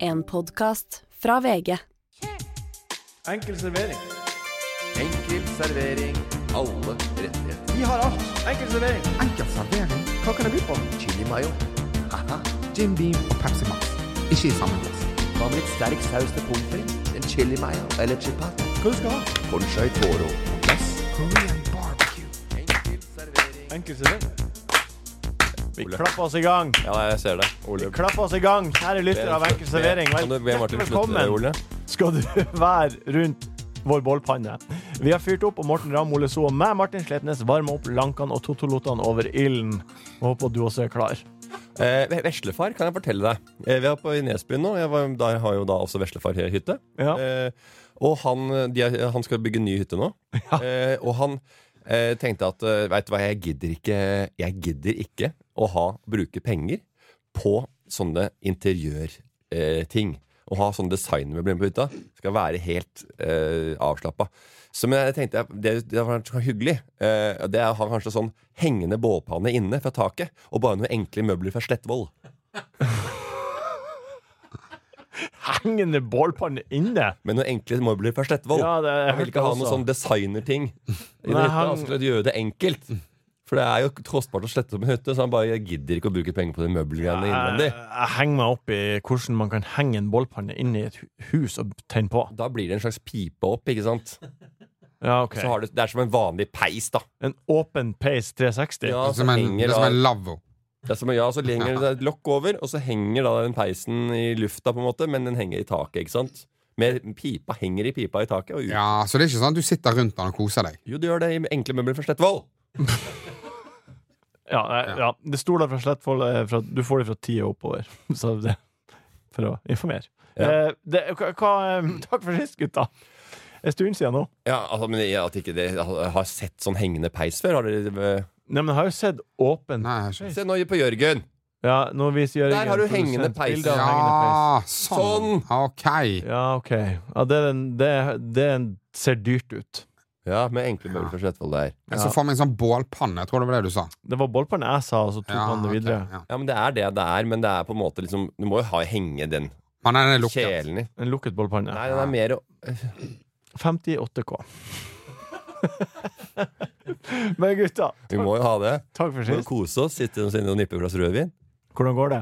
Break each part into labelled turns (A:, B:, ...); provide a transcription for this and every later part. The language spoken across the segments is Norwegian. A: En podkast fra VG.
B: Enkel servering.
C: Enkel servering. Alle rettigheter.
B: Vi har alt. Enkel servering.
D: Enkel servering.
B: Hva kan jeg by på?
C: Chili mayo. Haha.
D: Jim Beam og Pepsi Max. Ikke i samme glass.
C: Hva med litt sterk saus til pommes frites? En chili mayo eller chipat?
B: Hva du skal ha?
C: Cornchai toro på glass.
D: Korean barbecue.
C: Enkel servering.
B: Enkel servering. Vi klapper oss i gang.
E: Ja, nei, jeg ser det.
B: Vi
E: Ole.
B: klapper oss i gang. Her er lytter av Enkel servering.
E: Kan du be Martin slutte det, Ole?
B: skal du være rundt vår bålpanne. Vi har fyrt opp, og Morten Ramm, Ole So og meg, Martin Sletnes, varmer opp lankene og totolotene over ilden. Jeg Håper du også er klar.
E: Eh, veslefar, kan jeg fortelle deg. Eh, vi er på i Nesbyen nå. Jeg var, der har jo da også veslefar hytte.
B: Ja.
E: Eh, og han, de, er- han skal bygge ny hytte nå. Eh, og han eh, tenkte at eh, Vet du hva, jeg gidder ikke Jeg gidder ikke å ha, bruke penger på sånne interiørting. Eh, ting. å ha sånne designmøbler på hytta skal være helt eh, avslappa. Så men jeg tenkte jeg, det, det var så hyggelig. Eh, det er å ha kanskje sånn hengende bålpanne inne fra taket, og bare noen enkle møbler fra Slettvoll.
B: Hengende bålpanne inne!
E: Men noen enkle møbler fra Slettvoll.
B: Ja, det
E: Jeg vil ikke ha noen sånn designerting. I det
B: Nei,
E: hytta,
B: han-
E: Han skulle gjøre det enkelt. For det er jo kostbart å slette opp en hytte, så han bare gidder ikke å bruke penger på de møbelgreiene innvendig.
B: Jeg, jeg henger meg opp i hvordan man kan henge en bålpanne inne i et hu- hus og tenne på.
E: Da blir det en slags pipe opp, ikke sant?
B: Ja, ok.
E: Så har du, det er som en vanlig peis, da.
B: En åpen peis 360.
E: Ja,
D: Det er
E: så
D: som en,
E: henger
D: det er som
E: da-
D: en lavvo.
E: det er som, ja, så lenger det er et lokk over, og så henger da den peisen i lufta, på en måte, men den henger i taket, ikke sant? Med pipa henger i pipa i taket, og ut.
D: Ja, så det er ikke sånn at du sitter rundt den og koser deg.
E: Jo, du gjør det i enkle møbler fra Slettvoll.
B: Ja, nei, ja. Det sto der fra Slettvoll eh, fra- Du får det fra tida oppover. Så det, for å informere.
E: Ja.
B: Eh, det, hva, hva, eh, takk for sist, gutta. En stund siden nå.
E: Ja, altså, men jeg, at ikke det, jeg har sett sånn hengende peis før. Har dere eh,
B: Nei, men jeg har jo sett åpen
D: Nei, jeg har ikke.
E: Se nå på Jørgen.
B: ja, når vi sier
E: Der har du hengende peis.
B: Ja.
D: Ja,
E: Sånn.
D: sånn. Ok.
B: ja, OK. Ja, det, er en, det, er- det er en, ser dyrt ut.
E: Ja, med enkle møbler fra Slettvoll der.
D: Jeg så for meg en sånn bålpanne. Jeg tror det var det du sa.
B: Det var bollpanne jeg sa, og så tok han det
D: ok,
B: videre.
D: ja.
E: Ja, men det er det det er, men det er på en måte liksom Du må jo ha henge den
D: Men den er lukket.
E: kjelen i.
B: En lukket bollpanne.
E: Nei, den er mer å-
B: 58 K. men gutta,
E: Vi må jo ha det.
B: takk for
E: Vi må jo
B: sist.
E: kose oss, sitte og og nippe et glass rødvin.
B: Hvordan går det?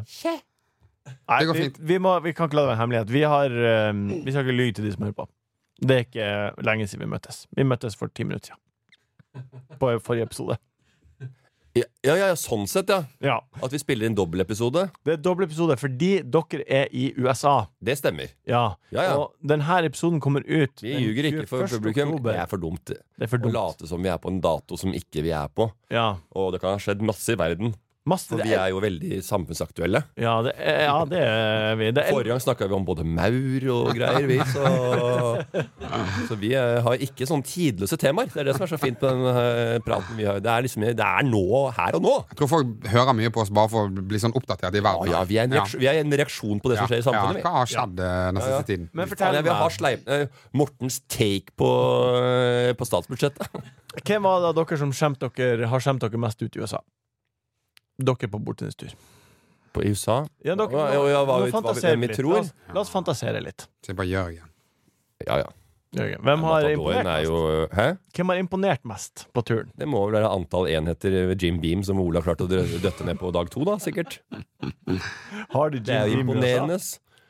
B: Nei,
D: Det går
B: vi,
D: fint.
B: vi, må, vi kan ikke la det være en hemmelighet. Vi, har, eh, vi skal ikke lyve til de som hører på. Det er ikke lenge siden vi møttes. Vi møttes for ti minutter siden. På forrige episode.
E: Ja, ja, ja, sånn sett, ja.
B: Ja.
E: At vi spiller inn dobbeltepisode.
B: Det er doble episode fordi dere er i USA.
E: Det stemmer.
B: Ja.
E: Ja, ja.
B: Og denne episoden kommer ut
E: Vi
B: den
E: ljuger ikke for
B: 21.
E: publikum.
B: oktober.
E: Det er for dumt
B: Det er for
E: å
B: dumt.
E: late som vi er på en dato som ikke vi er på.
B: Ja.
E: Og det kan ha skjedd masse i verden.
B: Masse,
E: For
B: det
E: vi
B: er,
E: er jo veldig samfunnsaktuelle.
B: ja, det er, ja, det er vi. Det er
E: Forrige gang snakka vi om både maur og greier, vi. Så, så vi eh, har ikke sånne tidløse temaer. Det er det som er så fint på den eh, praten vi har. Det er liksom det er nå, her og nå.
D: Jeg tror folk hører mye på oss bare for å bli sånn oppdatert i
E: Ja,
D: verden.
E: ja, vi, er en reaksjon, vi er en reaksjon på det som skjer i
D: Ja,
E: samfunnet.
D: Hva har skjedd eh, den
E: Ja, ja.
D: siste tiden?
B: Men fortell
E: Ja, vi har
B: meg,
E: sleip, eh, Mortens take på, eh, på statsbudsjettet.
B: hvem var det av dere som skjemte dere, har skjemt dere mest ut i USA? Dere på bortendstur.
E: På i USA?
B: Ja, dere,
E: Ja, ja, ja, hva
B: nå
E: vi- eh, hva vi-
B: fantaserer
E: hvem vi
B: litt.
E: tror.
B: La oss, la oss fantasere litt.
D: Se på Jørgen.
E: Ja, ja.
B: Jørgen, Hvem har,
E: Matadoren
B: imponert
E: er
B: mest?
E: jo Hæ?
B: Hvem har imponert mest på turen?
E: Det må vel være antall enheter ved Jim Beam som Ole har klart å drø- døtte ned på dag to, da, sikkert.
B: Har de
E: Det er jo imponerende.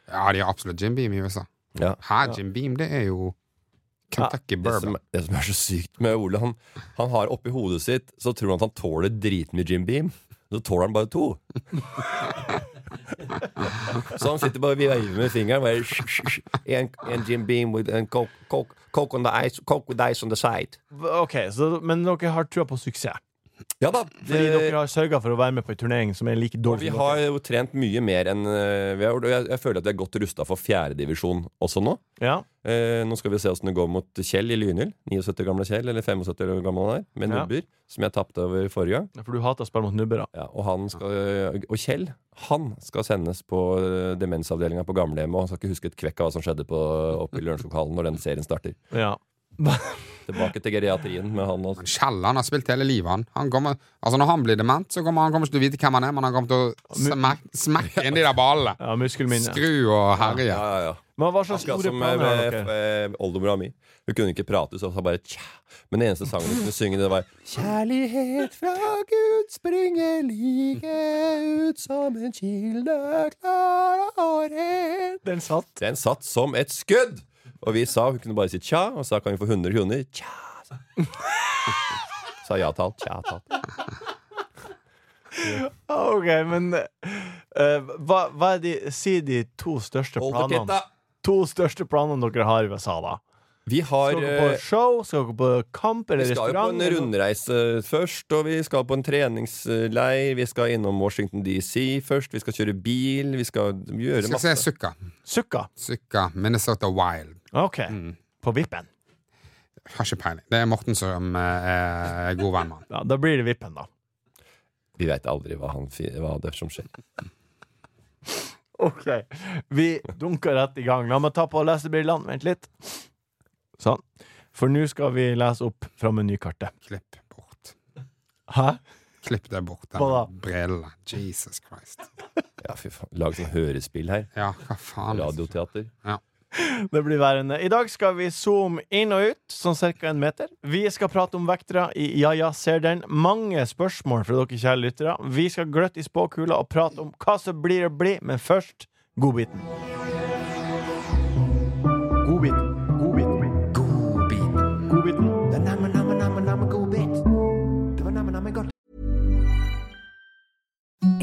D: Ja, de har absolutt Jim Beam i USA.
E: Ja.
D: Hæ, Jim Beam, det er jo Kentucky
E: Ah, det
D: Bourbon.
E: som, det som er så sykt med Ole han, han har oppi hodet sitt Så tror han at han tåler dritmye Jim Beam Så tåler han bare to Så han sitter bare og veiver med fingeren bare, sh, sh, sh. en, en Jim Beam with and coke, coke, coke, on the ice, coke with ice on the side
B: Ok, så, Men dere har trua på suksess.
E: Ja da
B: Fordi
E: det-
B: dere har sørga for å være med på en turnering som er like dårlig
E: vi
B: som
E: har jo trent mye mer enn eh, vi har, gjort, og jeg, jeg føler at vi er godt rustet for fjerde divisjon også nå
B: dere. Ja.
E: Eh, nå skal vi se hvordan det går mot Kjell i Lynhild. 79 gamle Kjell, eller 75 år gammel han er, med
B: Ja.
E: nubber, som jeg tapte over forrige gang.
B: For du hater å spille mot nubbere.
E: Ja, og, han skal, eh, og Kjell han skal sendes på eh, demensavdelinga på gamlehjemmet. Og han skal ikke huske et kvekk av hva som skjedde på, oppe i Lørenskoghallen når den serien starter.
B: Ja.
E: Tilbake til geriatrien med han. Altså.
D: Men Kjell han har spilt hele livet, han. han kommer, altså Når han blir dement, så kommer han kommer ikke til å vite hvem han er, men han kommer til å smekke, smekke inn de der ballene.
B: Ja, muskelminne.
D: Skru og herje.
E: Ja, ja, ja.
B: Men hva slags
E: Akkurat
B: store
E: som
B: planer har
E: eh,
B: dere?
E: eh, oldemora mi. Hun kunne ikke prate, så hun sa bare tja. Men den eneste sangen hun kunne synge, det var Kjærlighet fra Gud springer like ut som en kilde klar og ren.
B: Den satt.
E: Den satt som et skudd! Og vi sa hun kunne bare si tja, og så kan vi få 100 kroner. Tja, sa hun. Sa ja-tall. Tja-tall.
B: Ah, OK, men eh, hva, hva er de Si de to største
E: Hold til
B: planene.
E: pitta!
B: To største planene dere har i USA, da.
E: Vi har
B: Skal dere
E: eh,
B: på show? Skal dere på kamp eller
E: Vi skal jo på
B: restaurant?
E: en rundreise først, og vi skal på en treningsleir. Vi skal innom Washington DC først. Vi skal kjøre bil. Vi skal gjøre
D: Skal se
E: masse.
D: Sukka.
B: Sukka.
D: Sukka Minnesota Wild.
B: OK. Mm. På Vippen.
D: Har ikke peiling. Det er Morten som eh, er god venn med han.
B: Ja, da blir det Vippen, da.
E: Vi veit aldri hva, han, fi- hva det er som skjer.
B: OK. Vi dunker rett i gang. La meg ta på lesebrillene. Vent litt. Sånn. For nå skal vi lese opp fra menykartet.
D: Klipp bort.
B: Hæ?
D: Klipp det bort,
B: Hva da?
D: den brillene. Jesus Christ.
E: Ja, fy faen. Lag sånn hørespill her.
D: Ja, hva faen?
E: Radioteater.
B: Det blir værende. I dag skal vi zoome inn og ut, sånn ca. en meter. Vi skal prate om vektere i Ja ja, ser den. Mange spørsmål fra dere kjære lyttere. Vi skal gløtte i spåkula og prate om hva som blir å bli, men først godbiten. Godbiten. Godbiten.
C: Godbit.
B: Godbiten.
C: Det er namme, namme, namme, namme godbit. Det var namme, namme godt.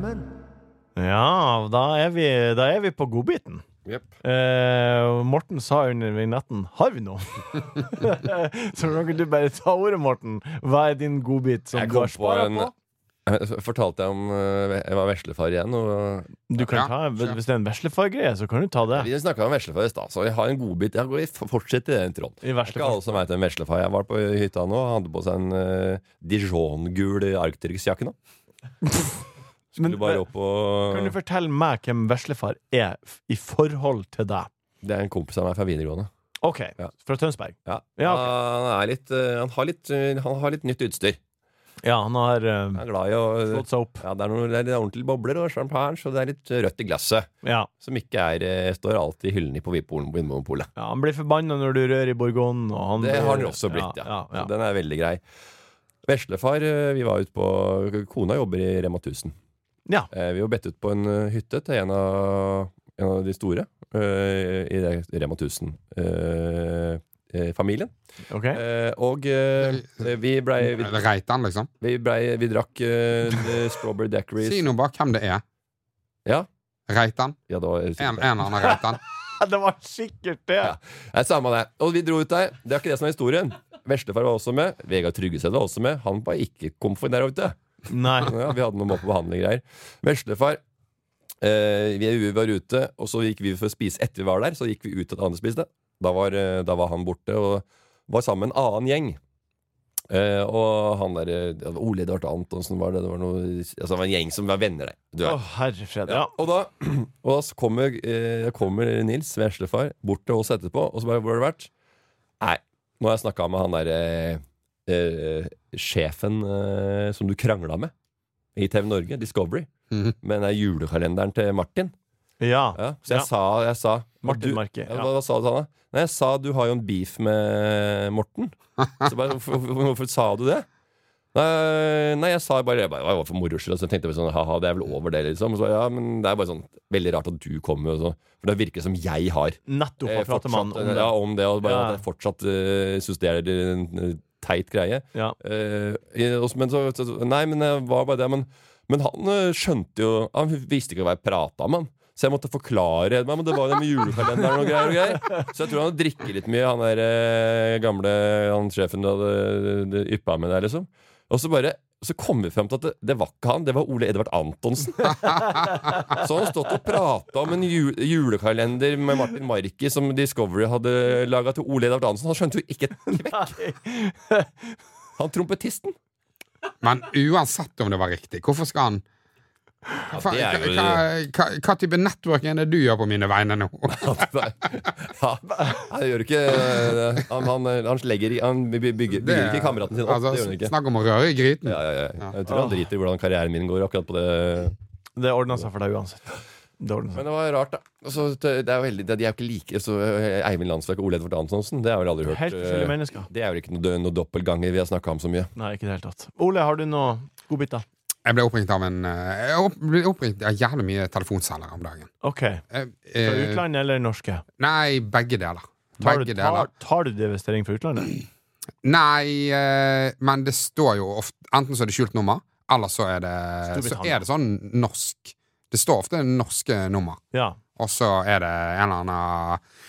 C: Men
B: Ja, da er vi, da er vi på godbiten.
D: Jepp.
B: Eh, Morten sa under vignetten 'Har vi noe?' Så nå kan du bare ta ordet, Morten. Hva er din godbit som
E: Jeg
B: du
E: kom
B: har
E: på
B: spara
E: en
B: på?
E: Eh, Fortalte jeg om eh, Jeg var veslefar igjen, og
B: Du kan
D: Ja,
B: ta,
D: sure.
B: Hvis det er en veslefar-greie, så kan du ta det.
E: Vi snakka om veslefar i stad, så jeg har en godbit. Jeg går- jeg fortsetter i den tråden.
B: I
E: Det er ikke
B: veslefar.
E: alle som veit hvem veslefar jeg var på hytta nå. Han hadde på seg en eh, Dijon-gul Arctrix-jakke nå.
B: Men
E: Skulle bare opp og
B: kan du fortelle meg hvem veslefar er f- i forhold til deg?
E: Det er en kompis av meg fra videregående.
B: OK,
E: Ja.
B: fra Tønsberg.
E: Ja.
B: Ja, ok.
E: Han, er litt, eh, han, har litt, eh, han har litt nytt utstyr.
B: Ja, han har eh,
E: Han er glad i å
B: slått seg opp.
E: ja, det, er noe, det er ordentlige bobler og champagne, så det er litt rødt i glasset.
B: Ja.
E: Som ikke er, eh, står alltid i hyllene på Vinmonopolen- Vinmonopolet.
B: ja, Han blir forbanna når du rører i Bourgogne. Og han
E: Det
B: blir-
E: har den også blitt, ja.
B: ja, ja.
E: Så den er veldig grei. Veslefar, eh, vi var ute på Kona jobber i Rema 1000.
B: Ja.
E: Eh, Vi var bedt ut på en eh, hytte til en av, en av de store eh, i det- Rema 1000-familien.
B: Ok.
E: Og eh, vi blei vi,
D: Eller Reitan, liksom.
E: vi, blei- vi drakk eh, strawberry daiquiris
D: Si nå bare hvem det er.
E: Ja.
D: Reitan.
E: Ja, det var
D: En, en eller annen Reitan.
B: Det var sikkert det!
E: Ja. Nei, samme det. Og vi dro ut der. Det er ikke det som er historien. Veslefar var også med. Vegard Tryggeseid var også med. Han var ikke komfort der ute.
B: Nei.
E: Ja, vi hadde noe med på behandling greier. Veslefar. Eh, vi vi var ute, og så gikk vi for å spise etter vi var der. Så gikk vi ut til at andre spiste. Da var, eh, da var han borte og var sammen med en annen gjeng. Eh, og han der eh, det var Ole Edvard Antonsen var det. Det var, noe, altså, det var en gjeng som var venner der. Du
B: Å,
E: vet.
B: herre fred. Ja.
E: Ja, og da, og da så kommer, eh, kommer Nils, veslefar, bort til oss etterpå, og så bare 'Hvor har du vært?' Nei, nå har jeg snakka med han derre eh, eh, sjefen eh, som du krangla med i TV Norge, Discovery,
D: Mhm.
E: med den der julekalenderen til Martin.
B: Ja.
E: Ja, så jeg
B: Ja.
E: sa, jeg sa
B: Martin
E: du-
B: Marke,
E: Ja.
B: ja.
E: Hva, hva sa du, Sanne? Nei, jeg sa du har jo en beef med Morten. Så bare, hvorfor, hvorfor, hvorfor sa du det? Nei, nei, jeg sa bare, jeg bare Det var for moro skyld. Så jeg tenkte jeg sånn, haha, det er vel over det, liksom. Så, ja, men det er bare sånn veldig rart at du kommer. og så- For det virker som jeg har
B: Nettopp
E: eh,
B: har pratet med han om
E: eh,
B: det.
E: Ja, om det. Og bare
B: Ja.
E: at jeg fortsatt uh, syns det er en eh, teit greie.
B: Ja.
E: Eh, i- og så- men så, så Nei, men det var bare det. Men, men han eh, skjønte jo Han visste ikke hva jeg prata om, han. Så jeg måtte forklare meg, men det var jo det med julekalenderen og greier. og greier Så jeg tror han drikker litt mye, han der eh, gamle han sjefen du hadde yppa med der, liksom. Og så bare så kom vi frem til at det, det var ikke han, det var Ole Edvard Antonsen. Så han har stått og prata om en ju- julekalender med Martin Marki som Discovery hadde laga til Ole Edvard Antonsen. Han skjønte jo ikke et kvekk. Han trompetisten.
D: Men uansett om det var riktig, hvorfor skal han Hva,
E: det er jo-
D: hva, hva, hva type networking er det du gjør på mine vegne nå?
E: Nei, ja, han gjør ikke det. Han, han, han, legger, i- han bygger, bygger ikke kameraten sin opp.
D: altså,
E: det gjør han ikke.
D: Snakk om å røre i gryten.
E: Ja, ja, ja. Jeg tror han driter i hvordan karrieren min går akkurat på det.
B: Det ordna seg for deg uansett. Det ordnet seg.
E: Men det var rart, da. Altså, det det er jo heldig, de er jo ikke like så eh, Eivind Landsverk og Ole Edvard Antonsen, det har jeg vel aldri hørt.
B: Helt
E: eh,
B: forskjellige mennesker.
E: Det er vel ikke noe, noe doppelganger vi har snakka om så mye.
B: Nei, ikke i det hele tatt. Ole, har du noe godbiter?
D: Jeg ble oppringt av en eh, Jeg opp, ble oppringt av jævlig mye telefonselgere om dagen.
B: OK.
D: Jeg-
B: Fra
D: eh,
B: utlandet eller norske?
D: Nei, begge deler.
B: Tar du,
D: Begge deler.
B: tar, tar du divestering fra utlandet?
D: Nei, eh, men det står jo ofte Enten så er det skjult nummer, eller så er det, så
B: Storbritannia.
D: er det sånn norsk. Det står ofte norske nummer,
B: Ja.
D: og så er det en eller annen eh,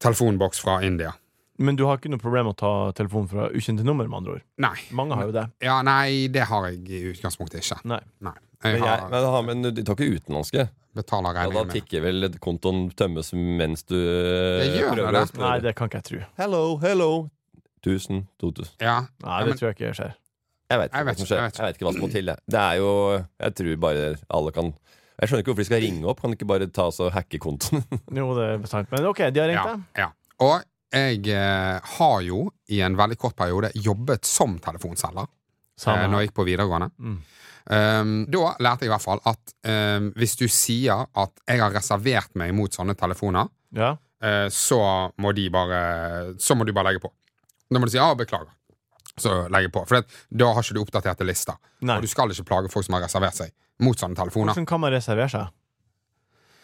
D: telefonboks fra India.
B: Men du har ikke noe problem med å ta telefon fra ukjente nummer, med andre ord?
D: Nei.
B: Mange har jo det.
D: Ja, nei, det har jeg i utgangspunktet ikke.
B: Nei.
D: Nei.
E: Men,
D: Jeg
E: jeg,
D: har,
E: men, ha- men du tar ikke utenlandske?
D: betaler
E: Ja, da
D: regningen min.
E: tikker vel kontoen tømmes mens du eh,
D: Det gjør
E: prøver
D: det.
E: å spørre.
B: Nei, det kan ikke jeg tro.
E: Hello, hello. 1000, 2000.
D: Ja.
B: Nei, det tror jeg ikke skjer.
E: Jeg vet ikke
D: Jeg
E: hva
D: vet ikke,
E: som
D: jeg
E: skjer. Jeg
D: vet
E: vet, ikke hva som må til. jeg. Det er jo Jeg tror bare alle kan Jeg skjønner ikke hvorfor de skal ringe opp. Kan de ikke bare ta oss og hacke kontoen?
B: Jo, det er sant. Men OK, de har
D: ja,
B: ringt deg.
D: ja. Og jeg eh, har jo i en veldig kort periode jobbet som telefonselger. eh,
B: Samme.
D: når jeg gikk på videregående.
B: Mm.
D: Um, da lærte jeg i hvert fall at um, hvis du sier at jeg har reservert meg mot sånne telefoner,
B: Ja.
D: eh, så må de bare Så må du bare legge på. Da må du si ja, beklager. Så legger jeg på. For det, da har ikke du oppdaterte lister.
B: Nei.
D: Og du skal ikke plage folk som har reservert seg mot sånne telefoner.
B: Hvordan kan man reservere seg?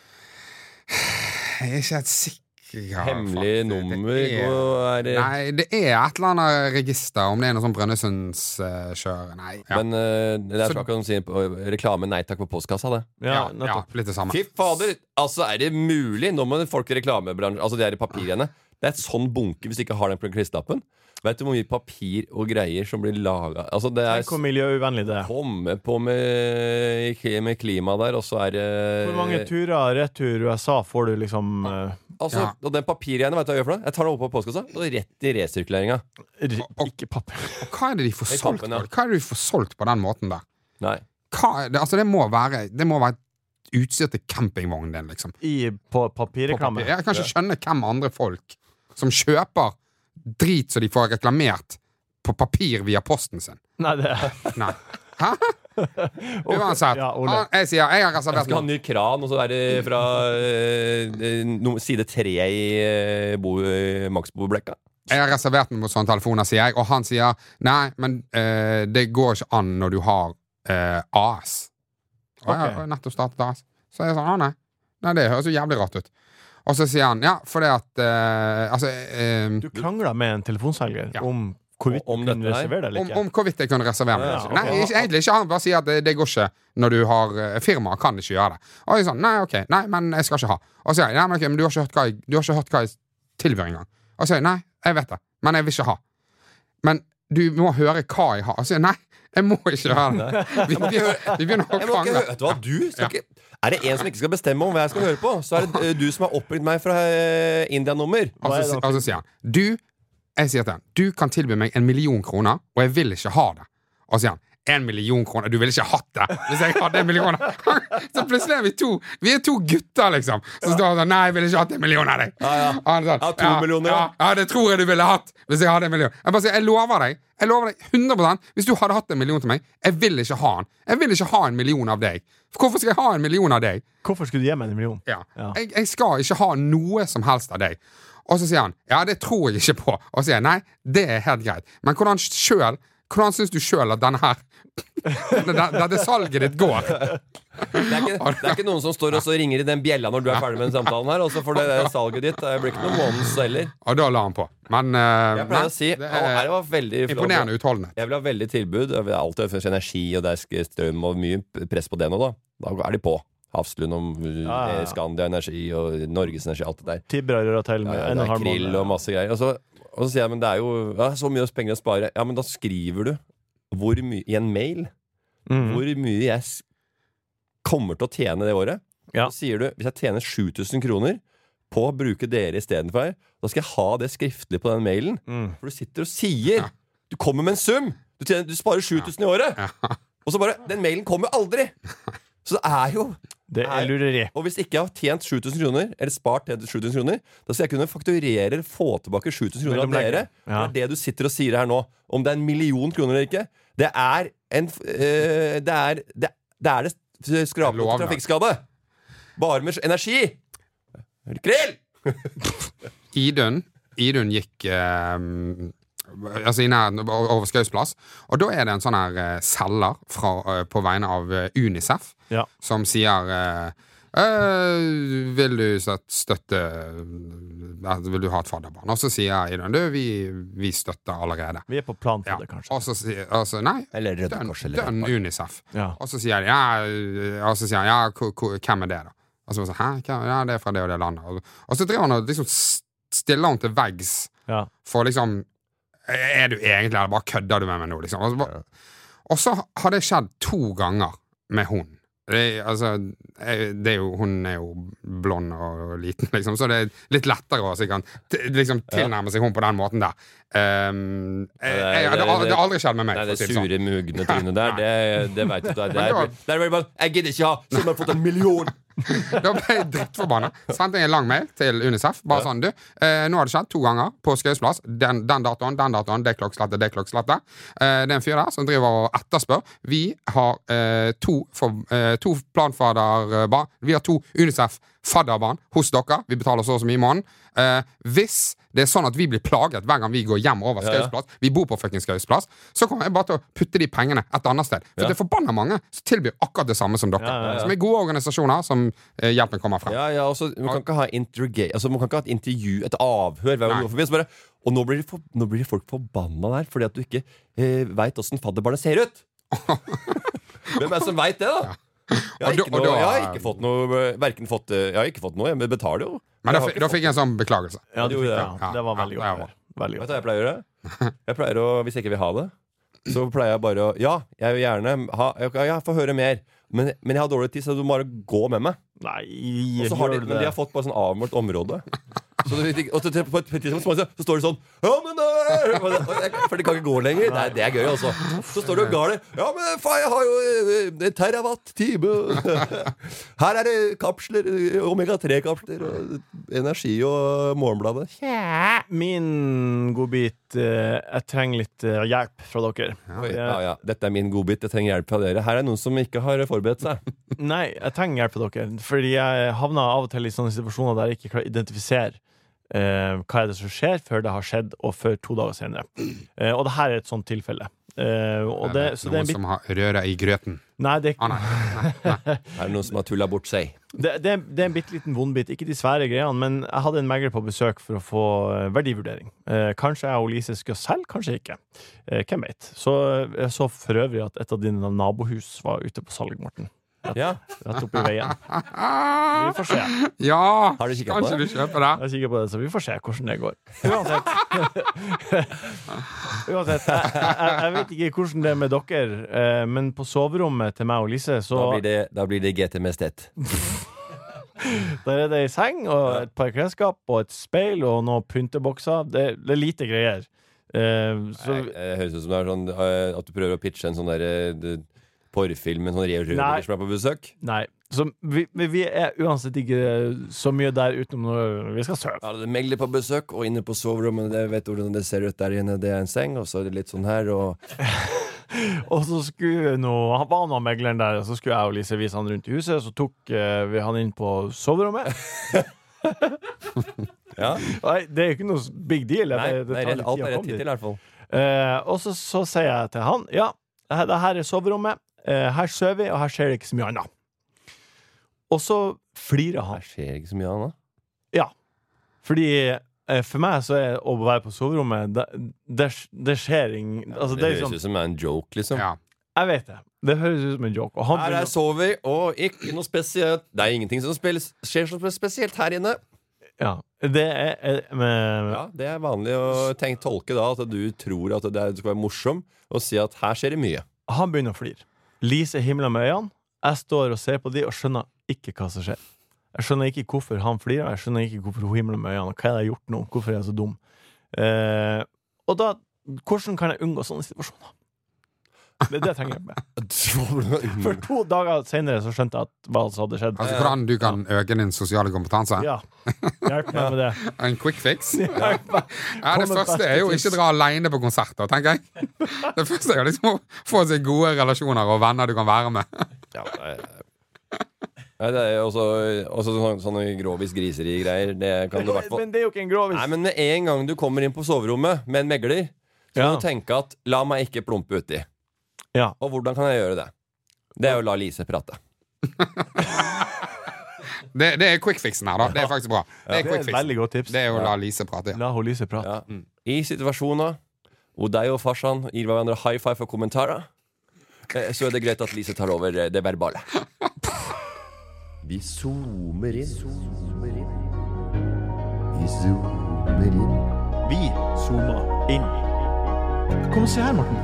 D: Jeg er ikke helt sikker.
E: Hemmelig
D: faktisk.
E: nummer
D: Det er-
E: og er det
D: Nei, det er et eller annet register, om det er noe sånn Brønnøysundskjør Nei. Ja.
E: Men eh, det er
D: Så-
E: snakk om å si på- reklame nei takk på postkassa, det.
B: Ja,
D: ja, ja,
B: nettopp.
D: litt det samme.
E: Fy fader! Altså, er det mulig? Nå må folk i reklamebransjen Altså, de er i papirene. Det er et sånn bunke hvis de ikke har den på klistelappen. Vet du hvor mye papir og greier som blir laga Altså, det er
B: Tenk hvor miljøuvennlig det er.
E: Komme på med, med klima der, og så er det
B: Hvor mange
E: eh,
B: turer retur USA får du liksom eh,
E: Altså,
D: Ja.
E: og den papirgreiene, vet du hva jeg gjør for noe? Jeg tar det opp på postkassa, og rett i resirkuleringa.
B: r-
D: Og-
B: Ikke papir.
D: Hva er det de får
E: Jeg
D: solgt
E: kapper
D: på?
E: den, ja.
D: Hva er det de får solgt på den måten der?
E: Nei.
D: Hva er det, altså det må være Det må være utstyr til campingvognen din, liksom.
B: I, på papirreklame.
D: Jeg kan ikke skjønne hvem andre folk som kjøper drit som de får reklamert på papir via posten sin.
B: Nei, det er
D: Nei. Hæ? Uansett.
B: Ja, Ole.
D: han- jeg sier jeg har
E: Jeg
D: reservert
E: skal ha en
D: meg.
E: ny kran, og så er det fra eh, no, side tre i eh, bo, eh, Maxbo-blekka.
D: Jeg har reservert meg mot sånne telefoner, sier jeg. Og han sier nei, men eh, det går ikke an når du har eh, AS. Og jeg
B: Ok.
D: har nettopp startet AS. Så jeg sa ah, nei. nei, det høres jo jævlig rart ut. Og så sier han ja, fordi at eh, Altså eh,
B: Du krangla med en telefonselger
D: Ja.
B: om hvorvidt
E: Om
B: du kunne
E: dette her?
B: reservere deg eller
D: om,
B: ikke.
D: om hvorvidt jeg kunne reservere meg. eller
E: Ja, ja,
D: ikke.
E: ok.
D: Nei, ikke, egentlig ikke. Han bare sier at det, det går ikke når du har eh, Firmaet kan ikke gjøre det. Og jeg sånn, nei, ok, nei, men jeg skal ikke ha. Og så sier jeg, nei, men ok, men du har ikke hørt hva jeg, du har ikke hørt hva jeg tilbyr engang. Og så sier jeg, nei, jeg vet det, men jeg vil ikke ha. Men du må høre hva jeg har. Og så sier jeg, nei, jeg må ikke ha det. Vi, begynner- vi begynner å
E: Jeg må ikke,
D: krangle.
E: vet du hva, du skal ikke, Er det en som ikke skal bestemme om hva jeg skal høre på, så er det eh, du som har oppringt meg fra eh, India-nummer.
D: Og
B: Hva er
D: så,
B: det
D: si-
B: han
D: og så sier han, du, jeg sier til han, du kan tilby meg en million kroner, og jeg vil ikke ha det. Og så sier han, en million kroner. Du ville ikke hatt det hvis jeg hadde en million kroner. Så plutselig er vi to Vi er to gutter, liksom. Så står han sånn Nei, jeg ville ikke hatt en million av deg. Han er sånn,
E: Ja, to millioner,
D: ja,
E: ja.
D: ja, det tror jeg du ville hatt hvis jeg hadde en million. Jeg bare sier, jeg lover deg. Jeg lover deg 100 Hvis du hadde hatt en million til meg, jeg vil ikke ha den. Jeg vil ikke ha en million av deg. Hvorfor skal jeg ha en million av deg?
B: Hvorfor skulle du gi meg en million?
D: Ja.
B: Ja.
D: Jeg, jeg skal ikke ha noe som helst av deg. Og så sier han ja, det tror jeg ikke på. Og så sier jeg nei, det er helt greit. Men hvordan sjøl hvordan syns du sjøl at denne her dette, dette salget ditt går?
E: Det er, ikke, det er ikke noen som står og så ringer i den bjella når du er ferdig med den samtalen her, og så får det der salget ditt. Det blir ikke noe måneds heller.
D: Og da la han på. Men eh,
E: Jeg
D: nei,
E: pleier å si
D: det
E: Å, her var veldig
D: er imponerende utholdenhet.
E: Jeg vil ha veldig tilbud. Jeg vil alltid ha energi, og det er sk- strøm og mye p- press på det nå, da. Da er de på. Hafslund om uh,
B: Ja, ja, ja.
E: Skandia Energi og Norges Energi, alt det der.
B: Tibber har røra til med
E: Ja, ja,
B: en og en
E: det er
B: halv
E: krill og
B: måned.
E: masse greier. Og så, og så sier jeg, men det er jo ja, så mye penger å spare. Ja, men da skriver du hvor mye i en mail
B: Mhm.
E: hvor mye jeg s- kommer til å tjene det året.
B: Ja.
E: Så sier du hvis jeg tjener 7000 kroner på å bruke dere istedenfor, da skal jeg ha det skriftlig på den mailen.
B: Mm.
E: For du sitter og sier Du kommer med en sum! Du, tjener, du sparer 7000 i året! Og så bare Den mailen kommer jo aldri! Så det er jo
B: Det er lureri.
E: Og hvis ikke jeg har tjent 7000 kroner, eller spart 7000 kroner, da skal jeg kunne fakturere eller få tilbake 7000 kroner av
B: Mellomlegge.
E: dere.
B: Ja.
E: Det er det du sitter og sier her nå. Om det er en million kroner eller ikke, det er en f- eh, Det er det, det, er det skrapet
D: Lovnad.
E: trafikkskade. Bare med energi! Krill!
D: Idun, Idun gikk eh, Altså i nærheten av- over Skaus plass. Og da er det en sånn her eh, selger fra, eh, på vegne av eh, Unicef
B: Ja.
D: som sier eh, «Eh, Vil du sett- støtte eh, Vil du ha et fadderbarn? Og så sier Idun du, vi, vi støtter allerede.
B: Vi er på plan for
D: Ja.
B: det, kanskje.
D: Og så sier altså, Nei,
E: Eller Røde
D: dønn,
E: Kors, eller Røde
D: dønn Unicef.
B: Ja.
D: Og så sier de ja, øh, og så sier han, ja ko- ko- hvem er det, da? Og så bare sånn, hæ, hvem, ja, det er fra det og det landet. Og, og så driver han og liksom s- stiller han til veggs
B: Ja.
D: for liksom Er du egentlig eller bare kødder du med meg nå, liksom? Og så, bare, og så har det skjedd to ganger med hun. Det, altså, jeg- det er jo, hun er jo blond og liten, liksom, så det er litt lettere å sikkert, t- liksom, tilnærme seg hun på den måten der. Um, jeg, jeg, det, har- det har aldri skjedd med meg.
E: Nei,
D: for å
E: det
D: si det sånn.
E: sure, mugne trynet der, det, det veit du. Det er, det
D: Men
E: er,
D: det
E: det er bare Jeg gidder ikke ha! Som har fått en million!
D: Da ble jeg drittforbanna. Sendte jeg en lang mail til Unicef. Bare sånn, du, eh, nå har det skjedd to ganger på Skaus plass. Den, den datoen, den datoen, det klokkeslettet, det klokkeslettet. Eh, det er en fyr der som driver og etterspør. Vi har eh, to, for, eh, to planfaderbarn. Vi har to Unicef-fadderbarn hos dere. Vi betaler så og så mye i måneden. Eh, hvis det er sånn at vi blir plaget hver gang vi går hjem over Skaus plass, vi bor på fuckings Skaus plass, så kommer jeg bare til å putte de pengene et annet sted. For
E: Ja.
D: det er forbanna mange som tilbyr akkurat det samme som dere. Som er gode organisasjoner som eh, hjelpen kommer frem.
E: Ja, ja, altså, man, kan ikke ha interroga- altså, man kan ikke ha et intervju, et avhør. Hver gang
D: Nei.
E: du går forbi, så bare, og nå blir, de for, nå blir folk forbanna der fordi at du ikke eh, veit åssen fadderbarnet ser ut! Hvem er det som veit det, da? Jeg
D: Og da-
E: har, ikke
D: og
E: noe,
D: da-
E: jeg har ikke fått noe Verken fått eh, Jeg har ikke fått noe, jeg betaler jo.
D: Men da,
E: Jeg har
D: fi-
E: ikke
D: da
E: fått-
D: fikk jeg en sånn beklagelse.
B: Ja, du
E: Jo,
B: fikk det.
E: ja.
B: Ja, Det var
D: Ja,
B: veldig
D: ja,
B: godt.
D: ja.
B: gjort. Veldig
E: Vet
B: godt.
E: du hva jeg pleier å gjøre? Jeg pleier å, Hvis jeg ikke vil ha det, så pleier jeg bare å Ja, jeg vil gjerne ha Ja, jeg får høre mer, men, men jeg har dårlig tid, så du må bare gå med meg.
B: Nei,
E: Og så har de,
B: gjør du
E: men de har
B: det?
E: fått bare sånn avmålt område. Så du, og så, til- på et tidspunkt så, så står det sånn Ja, men eh», og det- og jeg- For de kan ikke gå lenger. Nei, det er gøy, altså. Så står du og galer. Ja, men faen, jeg har jo eh, eh, terawatt-time. Her er det kapsler. eh, Omega-3-kapsler. og Energi og Morgenbladet.
B: Min godbit eh, Jeg trenger litt eh, hjelp fra dere.
E: Oi, Ja, ja. Dette er min godbit. Jeg trenger hjelp fra dere. Her er noen som ikke har forberedt seg.
B: Nei, jeg trenger hjelp fra dere, fordi jeg havner av og til i sånne situasjoner der jeg ikke klarer å identifisere eh, hva er det som skjer, før det har skjedd, og før to dager senere. Eh, og det her er et sånt tilfelle. Eh, og det, så det er
D: noen
B: en bit
D: som har røra i grøten.
B: Nei, det er
D: Ah, nei.
E: Her er noen som har tulla bort seg.
B: Det, det, det er en bitte liten vondbit. Ikke de svære greiene, men jeg hadde en megler på besøk for å få eh, verdivurdering. Eh, kanskje jeg og Lise skulle selge, kanskje ikke. Eh, hvem vet. Så eh, jeg så for øvrig at et av dine nabohus var ute på salg, Morten.
E: Ja.
B: Rett oppi veien. Vi får se.
D: Ja!
E: Har du kikket på
D: Kanskje du
E: det?
D: kjøper det?
B: Jeg er sikker på det, så vi får se hvordan det går. Uansett. Uansett jeg, jeg, jeg vet ikke hvordan det er med dere, eh, men på soverommet til meg og Lise, så
E: Da blir det, da blir det GT Mestet.
B: Der er det ei seng og et par klesskap og et speil og noen pyntebokser. Det, det er lite greier. Eh, så,
E: Nei, Det høres ut som det er sånn eh, at du prøver å pitche en sånn der eh, det- porrfilm med en sånn
B: Nei.
E: rødhårer som er på besøk.
B: nei. Så vi, men vi er uansett ikke så mye der utenom når vi skal sove.
E: Ja, det er megler på besøk, og inne på soverommet det vet hvordan det ser ut der inne. Det er en seng, og så er det litt sånn her, og
B: Og så skulle nå, han var nå megleren der, og så skulle jeg og Lise vise han rundt i huset. Så tok eh, vi han inn på soverommet.
E: Ja.
B: Nei, det er jo ikke noe big deal.
E: Nei,
B: det, det
E: nei
B: tar litt tid å
E: rett, alt er
B: komme
E: rett
B: dit.
E: hittil, i hvert fall.
B: Eh, og så, så sier jeg til han Ja, det her- det her er soverommet. Eh, her sover vi, og her skjer det ikke så mye annet. Og så flirer han.
E: Her skjer ikke så mye annet.
B: Ja. Fordi eh, for meg så er å være på soverommet Det, det, det skjer ingen altså, det
E: det
B: er
E: høres
B: sånn,
E: ut som det er en joke, liksom.
D: Ja.
B: Jeg vet det. Det høres ut som en joke. Og han
E: Her
B: begynner-
E: er sover, og ikke noe spesielt Det er ingenting som spilles, skjer som spesielt her inne.
B: ja, det er, eh, men,
E: Ja, Det er vanlig å tenke, tolke da at du tror at det er, du skal være morsom, og si at her skjer det mye.
B: Han begynner å flire. Lise himler med øynene. Jeg står og ser på de og skjønner ikke hva som skjer. Jeg skjønner ikke hvorfor han flirer, og jeg skjønner ikke hvorfor hun himler med øynene. Hva er det jeg har gjort nå? Hvorfor er jeg så dum? Eh, og da, hvordan kan jeg unngå sånne situasjoner? Det er det jeg trenger hjelp med. For to dager senere så skjønte jeg at hva som hadde skjedd.
D: Altså Hvordan du kan øke din sosiale kompetanse?
B: Ja. Hjelp meg med det.
D: En quick fix?
B: Hjelp meg.
D: Ja,
B: Kom
D: Det
B: med
D: første
B: beste
D: er jo
B: tips.
D: ikke dra aleine på konserter, tenker jeg. Det første er jo liksom å få seg gode relasjoner og venner du kan være med.
E: Ja, det er- Nei, det er jo også, også sånne, sånne grovis-griseri-greier. Det kan du i hvert fall
B: Men det er jo ikke en grovis.
E: Nei, men med en gang du kommer inn på soverommet med en megler, så
B: Ja.
E: må du tenke at 'la meg ikke plumpe uti'.
B: Ja.
E: Og hvordan kan jeg gjøre det? Det er jo å la Lise prate.
D: Det, det er quick fixen her, da. Det er faktisk bra. Det er
B: Det er
D: quick
B: et
D: fixen.
B: veldig godt tips.
D: Det er jo å la Lise prate. Ja.
B: La hun Lise prate.
E: Ja. I situasjoner hvor deg og farsan gir hverandre high five for kommentarer, eh, så er det greit at Lise tar over eh, det verbale. Vi zoomer inn. Vi zoomer inn.
B: Vi zoomer inn. Kom og se her, Morten.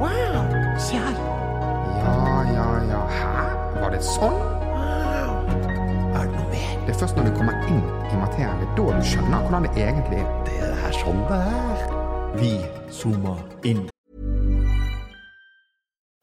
B: Wow! Se her.
D: ja, ja, ja. Hæ? Var det sånn? Er det noe mer? Det er først når du kommer inn i materien, det er da du skjønner hvordan det egentlig er. Det er sånn det er.
B: Vi zoomer inn.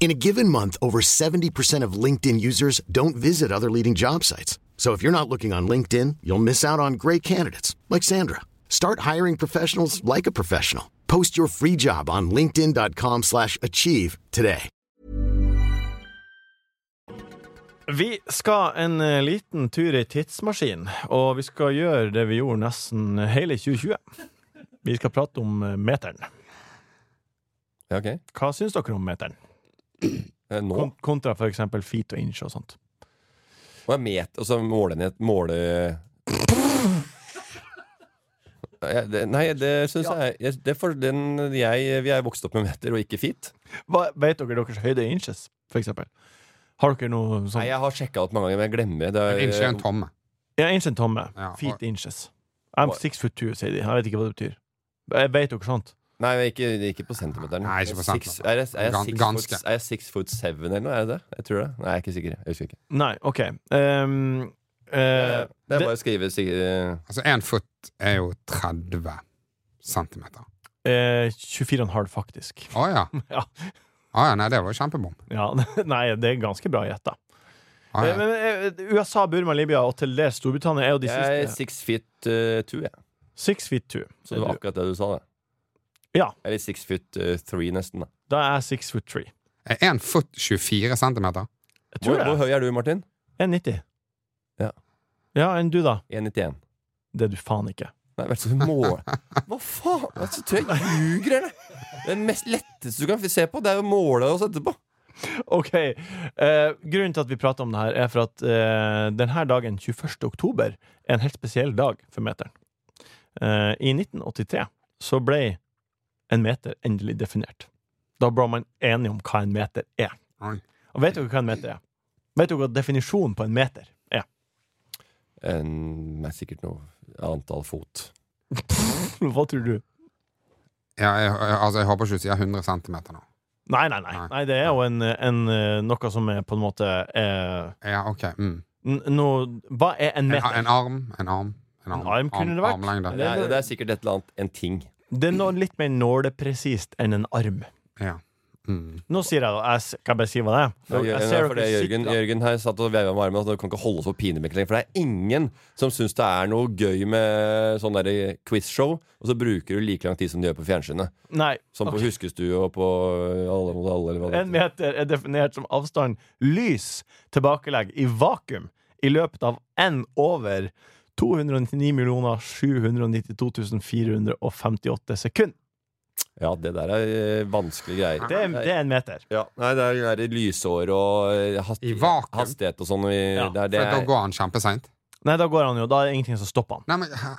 F: In a given month, over 70% of LinkedIn users don't visit other leading job sites. So if you're not looking on LinkedIn, you'll miss out on great candidates like Sandra. Start hiring professionals like a professional. Post your free job on linkedin.com/achieve slash achieve today.
B: Vi skal en eh, liten tur i tidsmaskin, og vi skal gjøre det vi gjorde nesten hele 2020. Vi skal prate om eh, meteren.
E: Ja, ok.
B: Hva syns dere om meteren?
E: Eh, Nå
B: Kon- Kontra for eksempel feet og inch og sånt.
E: Og jeg met, og så målenhet, måle... Ja, det, nei, det syns jeg jeg- Det er for den jeg Vi er vokst opp med meter og ikke feet.
B: Hva, vet dere deres høyde i inches, for eksempel? Har dere noe sånn? sånt?
E: Nei, jeg har sjekka opp mange ganger, men jeg glemmer det. er-
B: Eh,
D: Ikke en tomme.
B: Ja, inch er en tomme.
D: Ja, og-
B: feet inches. I'm six foot two, sier de. Jeg vet ikke hva det betyr. Jeg vet dere sånt?
E: Nei, men ikke, ikke på centimeteren.
D: Nei, ikke på
E: Six, er, jeg, er, jeg
D: Gan-
E: six
D: ganske.
E: Foot, er jeg six foot seven eller noe? Er jeg det? Jeg tror det. Nei, jeg er ikke sikker. Jeg husker ikke.
B: Nei, OK. Ehm, eh,
E: Det
B: det-
E: er bare å skrive eh, sikkert
D: Altså, én fot er jo 30 centimeter.
B: eh, 24,5, faktisk.
D: Å ja.
B: Ja.
D: Å ja. Nei, det var jo kjempebom.
B: ja. Nei, det er ganske bra gjetta.
D: Å,
B: Eh,
D: Ah, ja.
B: Men eh, USA, Burma, Libya og til dels Storbritannia er jo de
E: Jeg er
B: siste.
E: six feet eh, two, jeg.
B: Six feet two.
E: Så det var akkurat det du sa, det.
B: Ja.
E: Eller six feet eh, three, nesten. da
B: Da er jeg six foot three.
D: Er én fot 24 centimeter?
B: Jeg
E: hvor,
B: tror
E: hvor
B: det.
E: høy er du, Martin?
B: 1,90.
E: Ja.
B: Ja, enn du, da?
E: 1,91.
B: Det er du faen ikke.
E: Nei, vær så mål... Hva faen? Vær så tøy, ljuger eller? Det mest letteste du kan se på, det er jo målet oss etterpå.
B: OK. Eh, grunnen til at vi prater om det her, er for at eh, denne dagen, 21. oktober, er en helt spesiell dag for meteren. Eh, I 1983 så ble en meter endelig definert. Da ble man enige om hva en meter er.
D: Oi.
B: Og vet dere hva en meter er? Vet dere hva definisjonen på en meter er?
E: En, nei, sikkert noe antall fot.
B: Hva tror du?
D: Ja, jeg, jeg- altså, jeg håper ikke du sier 100 cm nå.
B: Nei, nei, nei.
D: Nei.
B: nei det er jo en, en, eh, noe som er på en måte eh,
D: Ja, ok. Mm.
B: n- no, Hva er en
D: En,
B: meter?
D: en arm, en arm. En arm,
B: arm kunne det vært.
D: Armlengde.
E: Det er, det er sikkert et eller annet, en ting.
B: Det er noe litt mer nålepresist enn en arm.
D: Ja. Mm.
B: Nå sier jeg det. Jeg s- kan bare si hva det er.
E: Ja, Jørgen,
B: Jeg
E: ja,
B: ser
E: for
B: dere
E: det, Jørgen,
B: sitter-
E: Jørgen her satt og veiva med armen. Altså, du kan ikke holde oss på pinevekk lenger. For det er ingen som syns det er noe gøy med sånn derre quizshow, og så bruker du like lang tid som de gjør på fjernsynet.
B: Nei.
E: Som
B: ok.
E: på Huskestue og på eh, Alle mot alle, eller hva det
B: En
E: heter.
B: meter er definert som avstand lys tilbakelegg i vakuum i løpet av n over 299 792 458 sekunder.
E: Ja, det der er eh, vanskelige greier.
B: Det er, det er en meter.
E: Ja, nei, det er, det er lysår og eh, hast,
D: I vakuum.
E: hastighet og sånn. i-
B: Ja,
E: det er- det
D: For da
E: er-
D: går han kjempeseint.
B: Nei, da går han jo. Da er det ingenting som stopper han.
D: Nei, men hæ?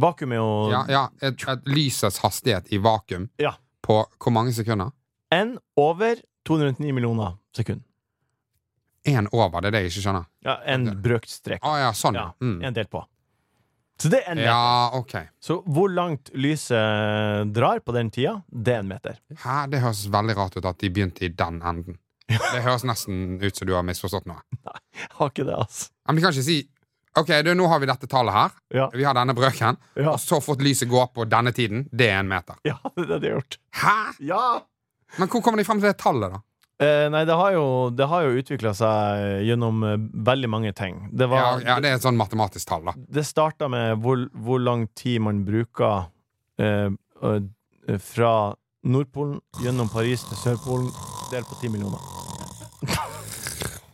B: Vakuum er jo
D: Ja, ja et, et lysets hastighet i vakuum
B: Ja.
D: på hvor mange sekunder?
B: n over 299 millioner sekunder.
D: Én over, det er det jeg ikke skjønner.
B: Ja, en brøkt strek.
D: Å ja, sånn, ja.
B: Ja,
D: Mm.
B: en del på. Så det er en meter.
D: Ja, OK.
B: Så hvor langt lyset drar på den tida, det er en meter.
D: Hæ, det høres veldig rart ut at de begynte i den enden. Det høres nesten ut som du har misforstått noe.
B: Har ikke det, altså.
D: Men de kan ikke si OK, du, nå har vi dette tallet her.
B: Ja.
D: Vi har denne brøken.
B: Ja.
D: Og så fått lyset gå på denne tiden. Det er en meter.
B: Ja, det er det de har gjort.
D: Hæ?
B: Ja!
D: Men hvor kommer de frem til det tallet, da?
B: Eh, nei, det har jo, det har jo utvikla seg gjennom eh, veldig mange ting. Det,
D: Ja,
B: var,
D: ja, det er et sånn matematisk tall, da.
B: det starta med hvor, hvor lang tid man bruker eh, eh, fra Nordpolen gjennom Paris til Sørpolen, delt på ti millioner.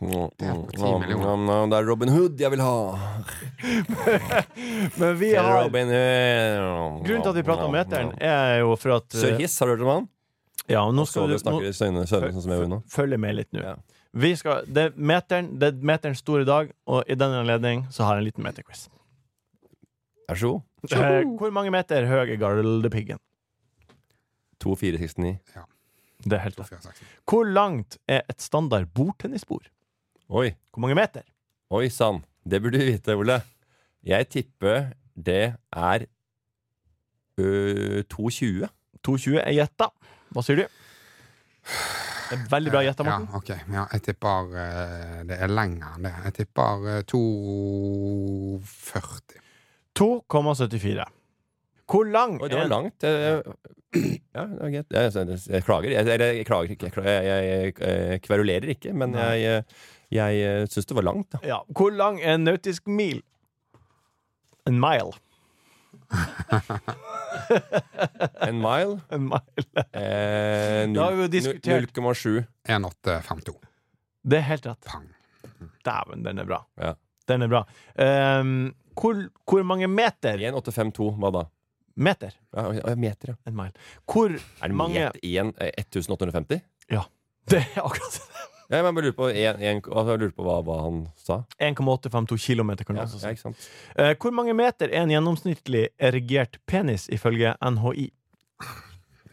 E: Mm,
D: Det er
E: mm,
D: på 10
E: mm,
D: millioner.
E: mm, mm, Det er Robin Hood jeg vil ha.
B: Men vi
E: Eller
B: har
E: Robin Hood. Mm,
B: Grunnen til at vi prater om meteren, er jo for at eh,
E: Sir Hiss, har du hørt om han?
B: Ja, og nå
E: Så
B: skal
E: du
B: du nå,
E: snakker i søvne, sånn som jeg gjør nå.
B: Følg med litt nå.
E: Ja.
B: Vi skal, det, er meteren, det er meterens store dag, og i den anledning så har jeg en liten meterquiz.
E: Vær så god.
B: Eh, hvor mange meter høy er Gardlepiggen?
E: 2469.
B: Det er helt rett.
D: 2460.
B: Hvor langt er et standard bordtennisbord?
E: Oi,
B: Hvor mange meter?
E: oi sann. Det burde du vite, Ole. Jeg tipper det er ø, 220.
B: 2,20 er gjetta. Hva sier du? Det er veldig bra gjetta,
D: Eh, Ja,
B: Morten.
D: ok. Ja, jeg tipper eh, det er lenger enn det. Jeg tipper eh, 240.
B: 2,74. Hvor lang
E: Oi, det var
B: er
E: langt. Jeg, ja, det var greit. Jeg, jeg, jeg klager. Jeg, jeg, jeg klager ikke. Jeg, kla- jeg, jeg, jeg kverulerer ikke, men jeg, jeg, jeg syns det var langt. Da.
B: ja, Hvor lang er en nautisk mil? En mile.
E: En mile
B: En mile.
E: eh,
B: Da har vi jo
E: null-
B: diskutert.
E: 0,7.
D: 1852.
B: Det er helt rett.
D: Pang.
B: Dæven, den er bra.
E: Ja.
B: Den er bra. Ehm, hvor, hvor mange meter
E: 1852, hva da?
B: Meter?
E: Ja, ja, ja, meter, ja.
B: En mile. Hvor
E: Er det
B: mange
E: met en, eh, 1850?
B: Ja. Det er akkurat det.
E: Ja, men jeg bare lurer på, en, en, altså, jeg lurer på hva, hva han sa.
B: 1,852 kilometer, kan du
E: Ja,
B: også si.
E: ja, ikke sant?
B: Eh, Hvor mange meter er en gjennomsnittlig erigert penis ifølge NHI?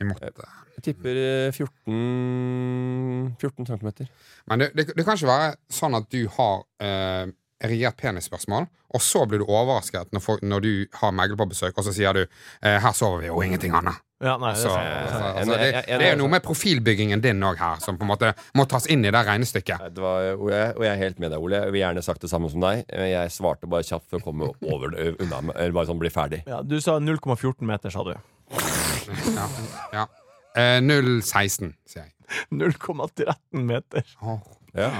D: Vi måtte
E: Jeg tipper eh, 14 14 cm.
D: Men det, det, det kan ikke være sånn at du har eh, erigert penisspørsmål, og så blir du overrasket når, folk, når du har megler på besøk, og så sier du eh, 'her sover vi jo ingenting annet'.
B: Ja, nei, det
D: Så,
B: er sant.
D: altså,
E: en-
D: altså, det,
E: en-
D: det er jo noe med profilbyggingen din òg her, som på en måte må tas inn i det regnestykket.
E: Nei, Det var, og, jeg, og jeg er helt med deg, Ole. Jeg vil gjerne sagt det samme som deg. men Jeg svarte bare kjapt for å komme over det, unna med- Eller bare sånn bli ferdig.
B: Ja, du sa 0,14 meter, sa du. sånn.
D: Ja, ja. Eh, 016, sier jeg.
B: 0,13 meter.
D: Åh,
E: Ja.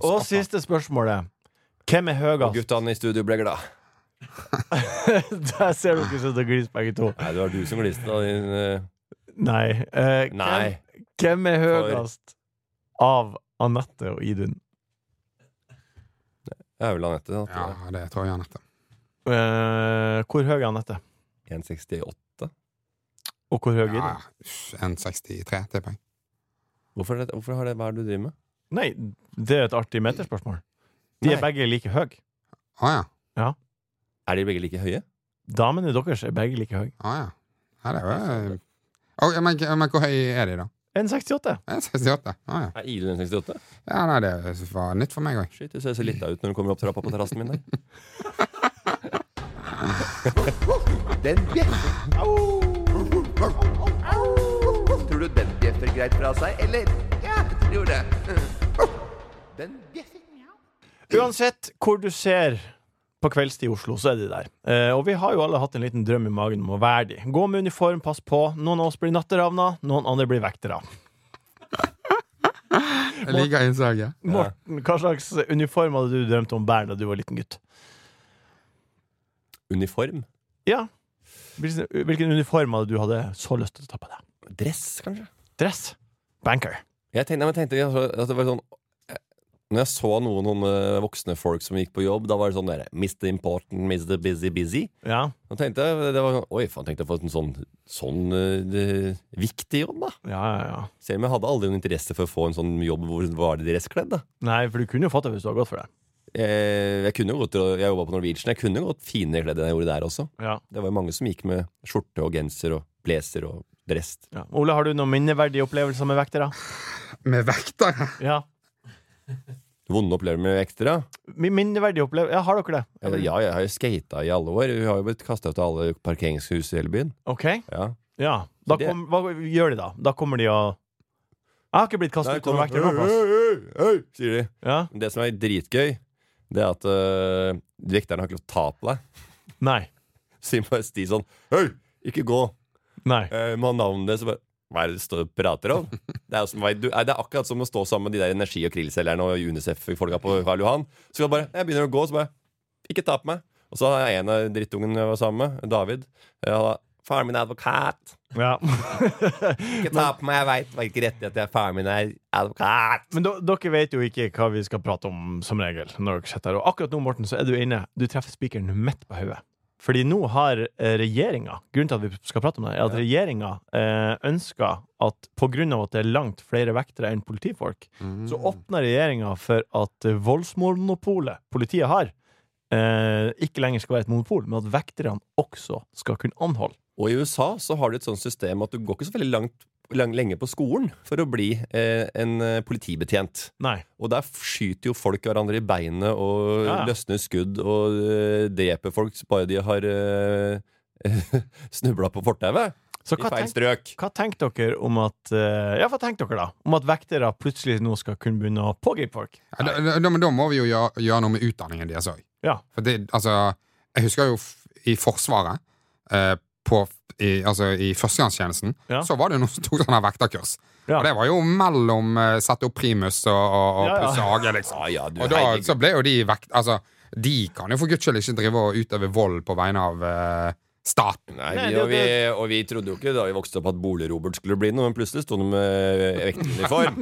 B: Og siste spørsmålet. Hvem er
E: Og
B: høyest?
E: guttene i studio ble glad.
B: Der ser dere som det gliser, begge to.
E: Nei, det var du som gliste, da. Din, eh,
B: Nei. eh,
E: nei.
B: Hvem, hvem er høyest av Anette og Idun?
E: Det er vel Anette. da,
D: Ja,
E: tror jeg.
D: det tror jeg, Anette.
B: Eh, hvor høy er Anette?
E: 1,68.
B: Og hvor høy er
D: Ja,
B: Idun?
D: 163, tipper jeg.
E: Hvorfor, er det- hvorfor har det Hva er det du driver med?
B: Nei, det er et artig meterspørsmål. De er
E: Nei.
B: begge like høy.
D: Å ja.
E: Er de begge like høye?
B: Damene deres er begge like høy.
D: Å ja. ja det er jo eh, Og, men, men hvor høy er de, da?
B: 1,68.
D: Jeg er 68. Ah, ja.
E: Er Ile 68?
D: ja, nei, det var nytt for meg òg.
E: Shit, du ser så lita ut når du kommer opp trappa på terrassen min der.
C: Den bjeffer. Tror du den bjeffer greit fra seg, eller? Ja, jeg tror det. Den bjeffer.
B: Uansett hvor du ser på kveldstid i Oslo, så er de der. Eh, og vi har jo alle hatt en liten drøm i magen om å være de. Gå med uniform, pass på. Noen av oss blir natteravna, noen andre blir vektere.
D: Jeg liker innslaget.
B: Morten, hva slags uniform hadde du drømt om å bære da du var liten gutt?
E: Uniform?
B: Ja. Hvilken hvilken uniform hadde du hadde så lyst til å ta på deg?
E: Dress, kanskje?
B: Dress. Banker.
E: Jeg tenkte, nei, men jeg tenkte altså, at det var sånn eh, Når jeg så noen, noen eh, voksne folk som gikk på jobb, da var det sånn der Mr. Important, Mr. Busy, Busy.
B: Ja.
E: Da tenkte jeg, det var sånn, Oi, faen, tenkte jeg på en sånn, sånn eh, eh, viktig jobb, da.
B: ja, ja, ja.
E: Selv om jeg hadde aldri noen interesse for å få en sånn jobb hvor det var dresskledd. da
B: Nei, for du kunne jo fått det hvis du hadde gått for det.
E: Eh, Jeg kunne jo gått, til å- jeg jobba på Norwegian, jeg kunne jo gått finere kledd enn jeg gjorde der også.
B: Ja.
E: Det var jo mange som gikk med skjorte og genser og blazer og dress.
B: Ja. Ole, har du noen minneverdige opplevelser med vektere?
D: Med vektere!
B: Ja.
E: Vonde opplevelser med ekstra.
B: Min- Minneverdige opplevelser? Ja, har dere det?
E: Eh, Ja, jeg har jo skata i alle år. Vi har jo blitt kasta ut av alle parkeringshus i hele byen.
B: Ok.
E: Ja.
B: Ja. Da
E: Det-
B: kom, hva gjør de da? Da kommer de og Jeg har ikke blitt kastet ut av vektere nå. pass.
E: sier de.
B: Ja.
E: Det som er dritgøy, det er at øh, vekterne har ikke lov til å ta på deg.
B: Nei.
E: Så de bare stier sånn Hei, ikke gå!
B: Nei.
E: Uh, med navnet ditt, så bare Hva er det du står og prater om? Det er, jo som, nei, du, nei, det er akkurat som å stå sammen med de der energi- og krillselgerne og UNICEF-folka på Karl Johan. Så jeg bare Jeg begynner å gå, så bare Ikke ta på meg. Og så har jeg en av drittungen jeg var sammen med, David. eh, han da, Faren min er advokat.
B: Ja.
E: Ikke ta på meg, jeg veit hvilke rettigheter jeg faren min er advokat.
B: Men da- dere vet jo ikke hva vi skal prate om, som regel. Når dere sitter her. Og akkurat nå, Morten, så er du inne. Du treffer spikeren midt på hodet. Fordi nå har regjeringa Grunnen til at vi skal prate om det, er at regjeringa eh, ønsker at pga. at det er langt flere vektere enn politifolk,
D: Mm.
B: så åpner regjeringa for at eh, voldsmonopolet politiet har, eh, ikke lenger skal være et monopol, men at vekterne også skal kunne anholde.
E: Og i USA så har de et sånt system at du går ikke så veldig langt, lang, lenge på skolen for å bli eh, en eh, politibetjent.
B: Nei.
E: Og der skyter jo folk hverandre i beinet og
B: Ja, ja.
E: løsner skudd og eh, dreper folk bare de har uh, snubla på fortauet.
B: Så
E: I
B: hva
E: feil
B: tenker
E: strøk.
B: Hva tenker dere om at eh, Ja, hva tenker dere da? Om at vektere plutselig nå skal kunne begynne å pågripe folk?
D: Ja, da, da, da, men da må vi jo gjøre, gjøre noe med utdanningen deres òg.
B: Ja.
D: For det, altså, jeg husker jo f i Forsvaret, eh, på, f- i, altså i førstegangstjenesten,
B: Ja.
D: så var det jo noen som tok sånn her vekterkurs.
B: Ja.
D: Og det var jo mellom eh, sette opp primus og, og, og
B: Ja, ja.
D: pusse hage, liksom.
E: Ja, ja, du,
D: Og da
E: herregud.
D: så ble jo de vekt... Altså, de kan jo for guds skyld ikke drive og utøve vold på vegne av eh, staten.
E: Nei,
B: Nei,
E: vi,
B: det-
E: og, vi, og vi trodde jo ikke da vi vokste opp at Bolig-Robert skulle bli noe, men plutselig sto han med vekteruniform.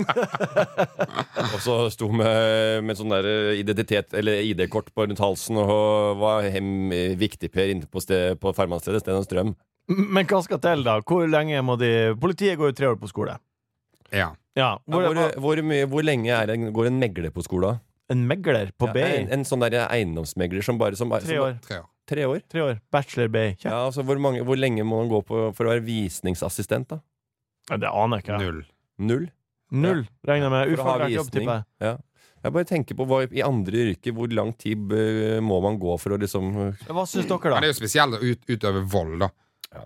E: og så sto han med, med sånn der identitet, eller ID-kort på rundt halsen og var hem, viktigper inne på, sted, på farmanstedet Sten og Strøm.
B: M- Men hva skal til, da? Hvor lenge må de Politiet går jo tre år på skole.
D: Ja.
B: Ja,
E: Hvor,
B: hvor,
E: hvor, hvor, mye- hvor lenge er en, går en megler på skolen?
B: En megler på
E: Ja, en,
B: BI.
E: en sånn der eiendomsmegler som bare som,
B: Tre
E: som,
B: år.
D: Tre år.
E: Tre år?
B: Tre år. Bachelor BI. Ja.
E: Ja, altså hvor, mange, hvor lenge må man gå på for å være visningsassistent, da?
B: Det aner jeg ikke.
D: Null.
E: Null?
B: Null, regner jeg med.
E: For å ha
B: Ufaglært jobb,
E: visning.
B: tipper jeg.
E: Ja. Jeg bare tenker på hva, i andre yrker hvor lang tid eh, må man gå for å liksom eh,
B: Hva syns dere,
D: Men det
B: da?
D: er jo spesielt å ut, utøve vold, da.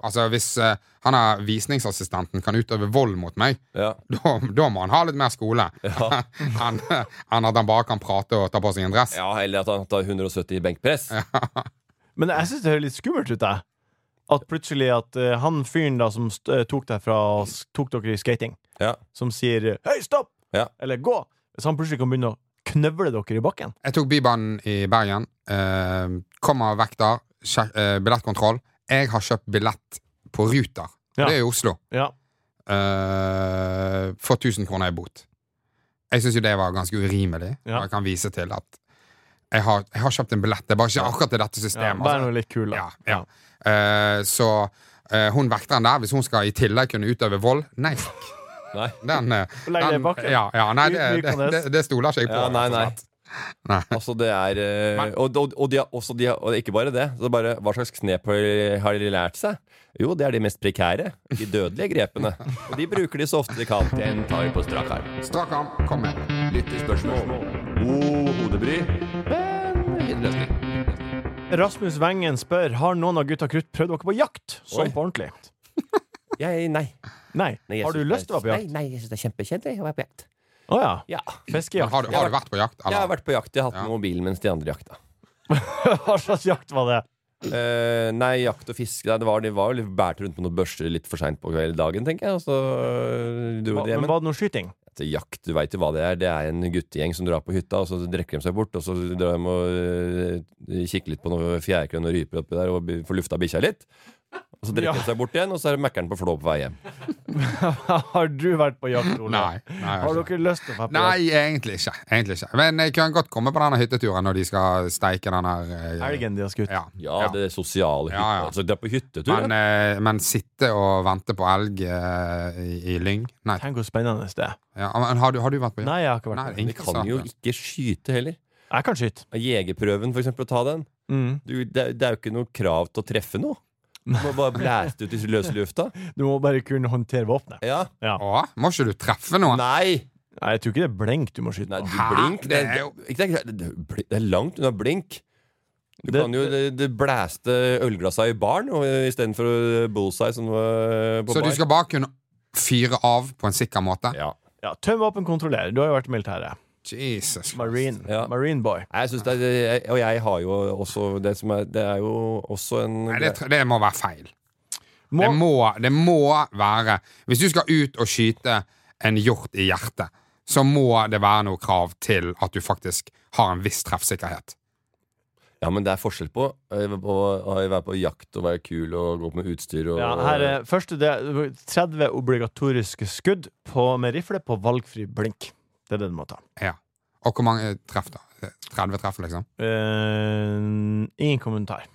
D: Altså, hvis eh, han her visningsassistenten kan utøve vold mot meg,
E: Ja.
D: da, da må han ha litt mer skole
E: Ja.
D: enn enn at han bare kan prate og ta på seg en dress.
E: ja, eller at han tar 170 i benkpress.
B: Men jeg syns det høres litt skummelt ut, jeg. At plutselig at eh, han fyren da som st eh, tok deg fra Tok dere i skating,
E: Ja.
B: som sier eh, 'hei, stopp!'
E: Ja.
B: eller 'gå', så han plutselig kan begynne å knøvle dere i bakken.
D: Jeg tok Bybanen i Bergen. Eh, kommer vekter, sjek- eh, billettkontroll. Jeg har kjøpt billett på Ruter.
B: Ja.
D: Det er i Oslo.
B: Ja.
D: Eh, for 1000 kroner i bot. Jeg syns jo det var ganske urimelig.
B: Ja.
D: Og jeg kan vise til at jeg har, jeg har kjøpt en billett. Det er bare ikke akkurat til dette
B: Ja,
D: systemet.
B: Vær
D: altså.
B: nå litt kul, da.
D: Ja, ja. Eh, så eh, hun vekteren der, hvis hun skal i tillegg kunne utøve vold Nei, fuck.
E: Nei.
D: Den, eh,
B: Legg det i
D: den-
B: bakken.
D: ja, ja, nei, det, det,
B: Ydmykende.
D: det, det stoler ikke jeg på.
E: Ja, nei,
D: rett og
E: nei.
D: slett. Nei.
E: Altså det er eh, Og, og, og, de har, også de har, og ikke bare det. Så bare, hva slags knep har- har de lært seg? Jo, det er de mest prekære. De dødelige grepene. Og de bruker de så ofte de kan. Den tar vi på strak arm.
D: Strak arm, kom med.
E: Lyttespørsmål. God hodebry. Men ingen løsning.
B: Rasmus Wengen spør Har noen av gutta krutt prøvd dere på jakt,
E: Oi.
B: sånn på ordentlig.
E: Jeg, nei.
B: Nei.
E: nei jeg
B: Har du
E: synes
B: lyst
E: det
B: til å
E: er-
B: være på jakt?
E: Nei, nei jeg syns det er kjempekjent jeg, å være på jakt.
B: Å ja.
E: Ja.
B: Fiskejakt.
D: Har du, har du vært på jakt?
E: Jeg har
D: Eller?
E: vært på jakt. Jeg har hatt
D: Ja.
E: med mobilen mens de andre jakta.
B: Hva slags jakt var det?
E: Eh, nei, jakt og fiske nei, det var, De var jo litt bært rundt på noen børster litt for seint på kvelden dagen, tenker jeg. Og så øh, dro
B: Hva,
E: de hjem.
B: men var det noe skyting?
E: Etter jakt, du veit jo hva det er. Det er en guttegjeng som drar på hytta, og så drikker de seg bort. Og så drar de og øh, kikker litt på noen fjærkrønn og ryper oppi der og bi- får lufta bikkja litt. Og så drikker
B: Ja.
E: de seg bort igjen, og så er det Mækkern på Flå på vei hjem.
B: Har du vært på jakt, Ole?
D: Nei. nei, jeg har
B: Har
D: ikke.
B: dere lyst til å være på jakt?
D: Nei, egentlig ikke. egentlig ikke Men jeg kan godt komme på denne hytteturen når de skal steike den her eh,
B: Elgen de har skutt.
D: Ja.
E: Ja,
D: ja.
E: det sosiale hytta.
D: Ja, ja.
E: Altså, dra på hyttetur.
D: Men, eh, men sitte og vente på elg eh, i, i lyng Nei.
B: Tenk hvor spennende det er.
D: Ja, men har, du, har du vært på jakt?
B: Nei, jeg har ikke vært på
D: Nei,
B: jakt.
E: men de
D: ingen
E: kan
D: sa
E: jo
D: det.
E: ikke skyte heller.
B: Jeg kan skyte.
E: Jegerprøven, for eksempel, å ta den.
B: Mm.
E: du, det, er- det er jo ikke noe krav til å treffe noe. Du må bare blæste ut i løse lufta.
B: Du må bare kunne håndtere våpenet.
E: Ja.
D: Å, må ikke du treffe noen?
E: Nei!
B: Nei, jeg tror ikke det er blink du må skyte
E: Nei,
B: på.
E: du,
D: Hæ?
E: blink. Det,
D: Det
E: er-
D: er jo-
E: ikke det, er- det, er- det er langt unna blink. Du
B: Det-
E: kan jo det, det blæste ølglassa i baren og, eh, istedenfor bullseye som var eh, på
D: Så
E: bar.
D: du skal bare kunne fyre av på en sikker måte?
E: Ja.
B: Ja, Tøm våpen, kontroller. Du har jo vært i militæret.
D: Jesus.
B: Marine.
E: Ja.
B: Marine boy.
E: Nei, Jeg synes det er, jeg- og jeg har jo også det som er Det er jo også en
D: Nei, det, tr- det må være feil.
B: Må,
D: Det, må, det må være Hvis du skal ut og skyte en hjort i hjertet, så må det være noe krav til at du faktisk har en viss treffsikkerhet.
E: Ja, men det er forskjell på eh, på- å være på jakt og være kul og gå på med utstyr og
B: ja, her
D: eh,
B: er første del 30 obligatoriske skudd på, med rifle på valgfri blink. Det er det du må ta.
D: Ja. Og hvor mange treff, da? 30 treff, liksom?
B: Eh, ingen kommentar.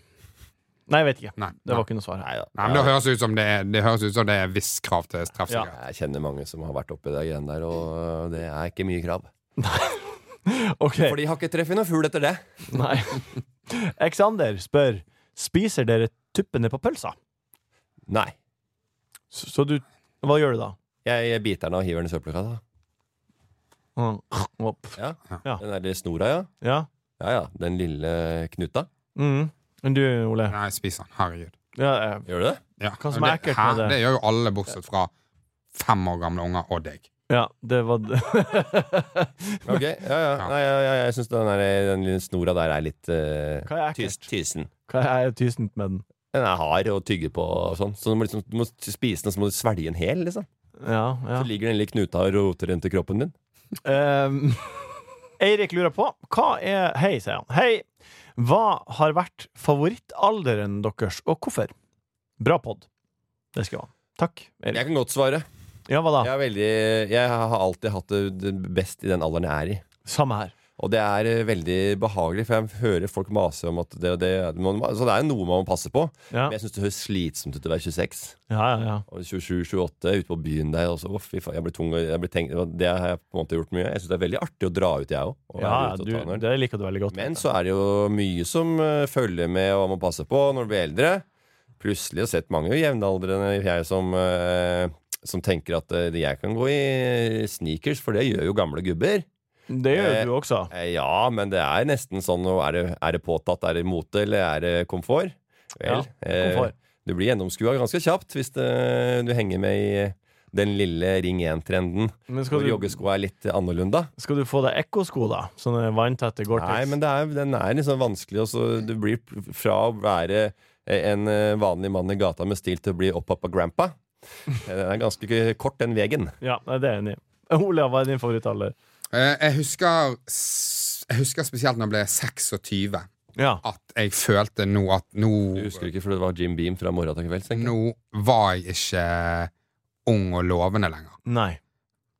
B: Nei, jeg vet ikke.
D: Nei.
B: Det var ikke noe svar her.
E: Nei da.
D: Nei, men det høres ut som det er, det høres ut som det er viss krav til treffsikkerhet.
E: Jeg kjenner mange som har vært oppi det greiene der, og øh, det er ikke mye krav.
B: Ok,
E: For de har ikke treffet noen fugl etter det.
B: nei Alexander spør Spiser dere tuppene på pølsa?
E: Nei.
B: Så, så du Hva gjør du da?
E: Jeg, jeg biter den og hiver den i søppelkassa.
B: Mm, Opp.
E: Ja.
B: Ja.
E: Den der lille snora, ja.
B: Ja.
E: Ja ja, den lille knuta.
B: Mm. Men du, Ole?
D: Nei, spis den. Herregud.
B: Ja, eh,
E: Gjør du det?
D: Ja.
B: Hva som er ekkelt med
D: hæ?
B: det?
D: Det gjør jo alle, bortsett fra fem år gamle unger og deg.
B: ja det var
E: Ok, ja ja. Nei, ja, ja jeg syns den, der- den lille snora der er litt eh,
B: Hva er
E: tys,
B: ekkelt?
E: tysen.
B: Hva er tysent med den?
E: Den er hard å tygge på og sånn. Så du må, liksom, du må spise den, så må du svelge en hel, liksom.
B: Ja, ja.
E: Så ligger den lille knuta og roter rundt i kroppen din.
B: Um, Eirik lurer på Hva er Hei, sier han. Hei. Hva har vært favorittalderen deres, og hvorfor? Bra pod. Det skal han. Takk,
E: Jeg
B: Eirik.
E: kan godt svare.
B: Ja, hva da?
E: Jeg, er veldig, jeg har alltid hatt det- det best i den alderen jeg er i.
B: Samme her.
E: Og det er eh, veldig behagelig, for jeg hører folk mase om at det og det man, Så det er jo noe man må passe på.
B: Ja,
E: Men jeg syns det høres slitsomt ut å være 26.
B: ja, ja. ja.
E: Og 27-28 ute på byen der. Og så, å, fy faen, jeg blir tung, og jeg blir tenkt, og det har jeg på en måte gjort mye. Jeg syns det er veldig artig å dra ut, jeg òg.
B: ja du, det liker du veldig godt.
E: Men så er det jo mye som eh, følger med og man må passe på når du blir eldre. Plutselig har jeg sett mange jevnaldrende jeg som, eh, som tenker at eh, jeg kan gå i sneakers, for det gjør jo gamle gubber.
B: det gjør
E: eh,
B: du også.
E: Eh, Ja, men det er nesten sånn nå, er det, er det påtatt, er det mote, eller er det komfort?
B: Ja,
E: Vel,
B: komfort.
E: Eh, du blir gjennomskua ganske kjapt hvis det, du henger med i eh, den lille Ring 1-trenden.
B: Men
E: Hvor
B: skal du,
E: joggeskoa er litt annerledes.
B: skal du få deg ekkosko, da? Sånn Sånne vanntette Gore-Tex?
E: Nei, men det er, den er liksom vanskelig. Og så du blir fra å være en eh, vanlig mann i gata med stil til å bli oppappa grandpa. Eh, Den er ganske k- kort, den veien.
B: Ja, nei, det er jeg enig i. Ole, hva er din favorittalder?
D: Eh, Jeg husker, s- jeg husker spesielt når jeg ble 26,
B: Ja.
D: at jeg følte nå at nå,
E: Du husker ikke, for det var Jim Beam fra morgen til kvelds. tenker jeg.
D: nå var jeg ikke eh, ung og lovende lenger.
B: Nei.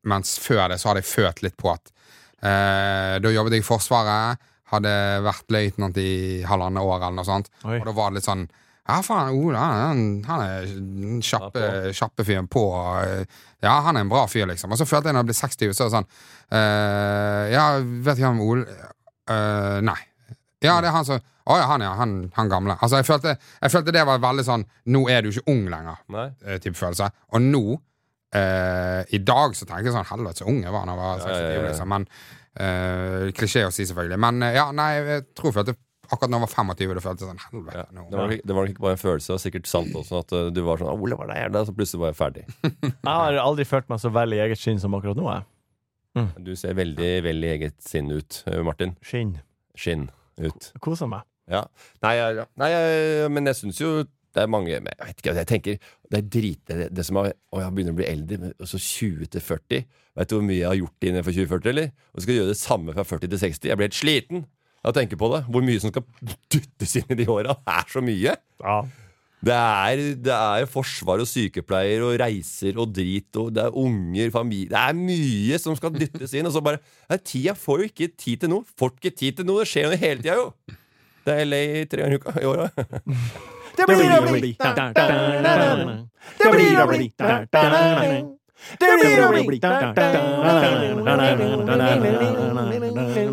D: Mens før det så hadde jeg følt litt på at eh, Da jobbet jeg i Forsvaret, hadde vært løytnant i halvannet år eller noe sånt,
B: Oi.
D: og da var det litt sånn ja, faen, Ola, han, han er den kjappe, kjappe fyren på. og, Ja, han er en bra fyr, liksom. Og så følte jeg når jeg ble 26, så er det sånn eh, Ja, eh, vet ikke om Ole Øh, nei. Ja, det er han som Å ja, han ja. Han, han gamle. Altså, jeg følte, jeg følte det var veldig sånn Nå er du ikke ung lenger.
E: Nei.
D: eh, type følelse. Og nå, eh, i dag, så tenker jeg sånn Helvete, så ung jeg var da jeg var
E: Ja, ja,
D: 26.
E: ja, ja.
D: Liksom. Men eh, Klisjé å si, selvfølgelig. Men eh, ja, nei, jeg tror jeg følte akkurat da jeg var 25, det føltes sånn Helvete.
E: Ja,
D: nå.
E: det, var, nok- det var nok ikke bare en følelse, det var sikkert sant også. At eh, du var sånn «Å, 'Ole, var det her da?' Så plutselig var jeg ferdig.
B: Jeg har aldri følt meg så vel i eget skinn som akkurat nå. Jeg.
E: Du ser veldig, veldig eget sinn ut, eh, Martin.
B: Skinn.
E: Skinn ut.
B: Koser meg.
E: Ja. Nei, jeg- ja. Nei, jeg- men jeg syns jo det er mange men Jeg vet ikke, jeg tenker Det er drit det, det som er Å, jeg begynner å bli eldre, men så 20 til 40. Vet du hvor mye jeg har gjort innenfor 2040, eller? Og skal gjøre det samme fra 40 til 60. Jeg blir helt sliten av å tenke på det. Hvor mye som skal dyttes inn i de åra. Det er så mye!
B: Ja.
E: Det er, det er jo forsvar og sykepleier og reiser og drit og det er unger, familie Det er mye som skal dyttes inn. Og så bare Nei, tida får jo ikke tid til noe. Får ikke tid til noe. Det skjer jo hele tida, jo. Det er LA tre ganger i uka i året.
B: Det blir å bli Det blir å bli Det blir å bli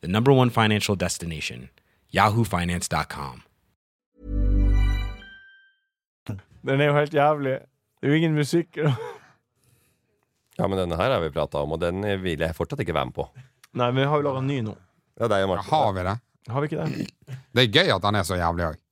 G: the number one financial destination, yahoofinance.com.
B: Den er jo helt jævlig. Det er jo ingen musikk.
E: Ja, men denne her har vi prata om, og den vil jeg fortsatt ikke være med på.
B: Nei, men vi har jo laga ny nå.
E: Det er deg
D: Ja,
E: og Martin.
D: Har vi det?
B: Har vi ikke det?
D: Det er gøy at han er så jævlig òg.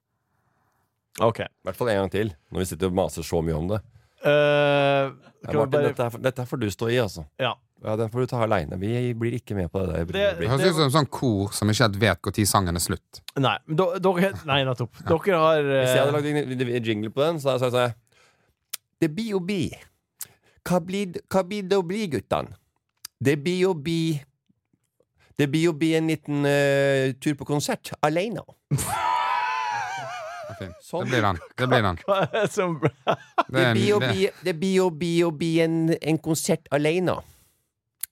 B: Ok.
E: I hvert fall en gang til, når vi sitter og maser så mye om det.
B: Eh,
E: Ja,
B: skal vi
E: Martin,
B: bare
E: dette, er for, dette er for du stå i, altså.
B: Ja.
E: Ja, Den får du ta aleine. Vi blir ikke med på det der.
B: Det-
D: Det
E: Blir-
D: høres ut som en sånn kor som ikke helt vet når sangen er slutt.
B: Nei, men do- dere Nei, nettopp. Dere har
E: Hvis jeg hadde
B: eh,
E: lagd en- en en jingle på den, så hadde jeg sagt sånn Det blir jo bi. Hva blir hva blir det å bli, guttene? Det blir jo bi Det blir jo bi en liten eh, tur på konsert aleine.
D: Det er fint.
E: Sånn.
D: Det blir den. Det blir den.
B: eh, Hva er det som
D: Det er,
E: blir jo
D: en- det,
E: bi- det blir jo bi å bli en, en konsert aleine.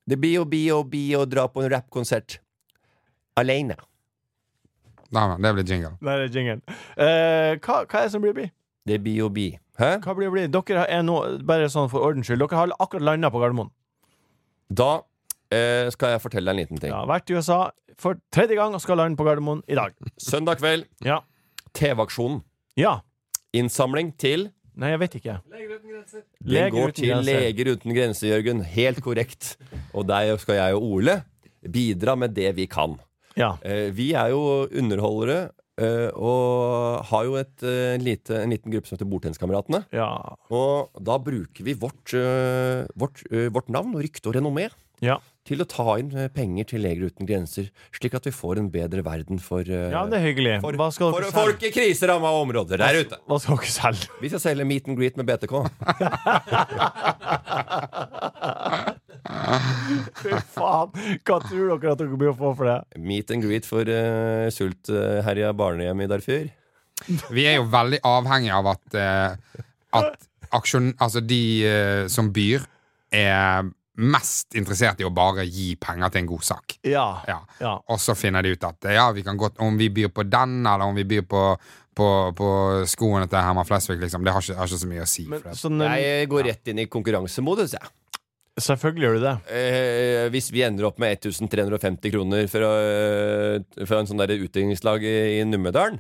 E: Det blir jo bi å bli å dra på en rappkonsert aleine.
D: da- det blir jingle.
B: Nei, det er jingen. Eh, hva, hva er det som blir å bli?
E: Det blir jo bi. Hæ?
B: Hva blir å bli? Dere er nå, bare sånn for ordens skyld, dere har akkurat landa på Gardermoen.
E: Da eh, skal jeg fortelle deg en liten ting.
B: Ja, vært i USA for tredje gang og skal lande på Gardermoen i dag.
E: Søndag kveld,
B: Ja.
E: TV-aksjonen.
B: Ja.
E: Innsamling til
B: Nei, jeg vet ikke.
E: Den
B: Leger
E: går
B: uten
E: til
B: grenser.
E: Leger uten grenser, Jørgen. Helt korrekt. Og der skal jeg og Ole bidra med det vi kan.
B: Ja.
E: Eh, Vi er jo underholdere. eh, og har jo et, eh, lite, en liten gruppe som heter Bordtenniskameratene.
B: Ja.
E: Og da bruker vi vårt, eh, vårt, eh, vårt navn og rykte og renommé
B: Ja.
E: til å ta inn eh, penger til Leger uten grenser, slik at vi får en bedre verden for, eh,
B: ja, det er hyggelig.
E: for,
B: Hva skal
E: for
B: dere
E: folk
B: selge?
E: i kriseramma områder der ute.
B: Hva skal dere selge?
E: Vi skal selge meet and greet med BTK.
B: Fy faen! Hva tror dere at dere blir å få for det?
E: Meet and greet for uh, sultherja barnehjem i Darfur.
D: Vi er jo veldig avhengig av at, eh, at aksjon, altså de eh, som byr, er mest interessert i å bare gi penger til en god sak.
B: Ja.
D: Ja.
B: Ja.
D: Og så finner de ut at eh, ja, vi kan godt, om vi byr på den, eller om vi byr på, på, på skoene til Herman Flesvig, liksom, det har ikke, har ikke så mye å si.
B: Men
D: for det.
B: sånn,
E: Jeg eh, går rett inn i konkurransemodus, jeg.
B: selvfølgelig gjør du det.
E: Eh, hvis vi ender opp med 1350 kroner fra, eh, fra en sånn der utdrikningslag i, i Numedalen,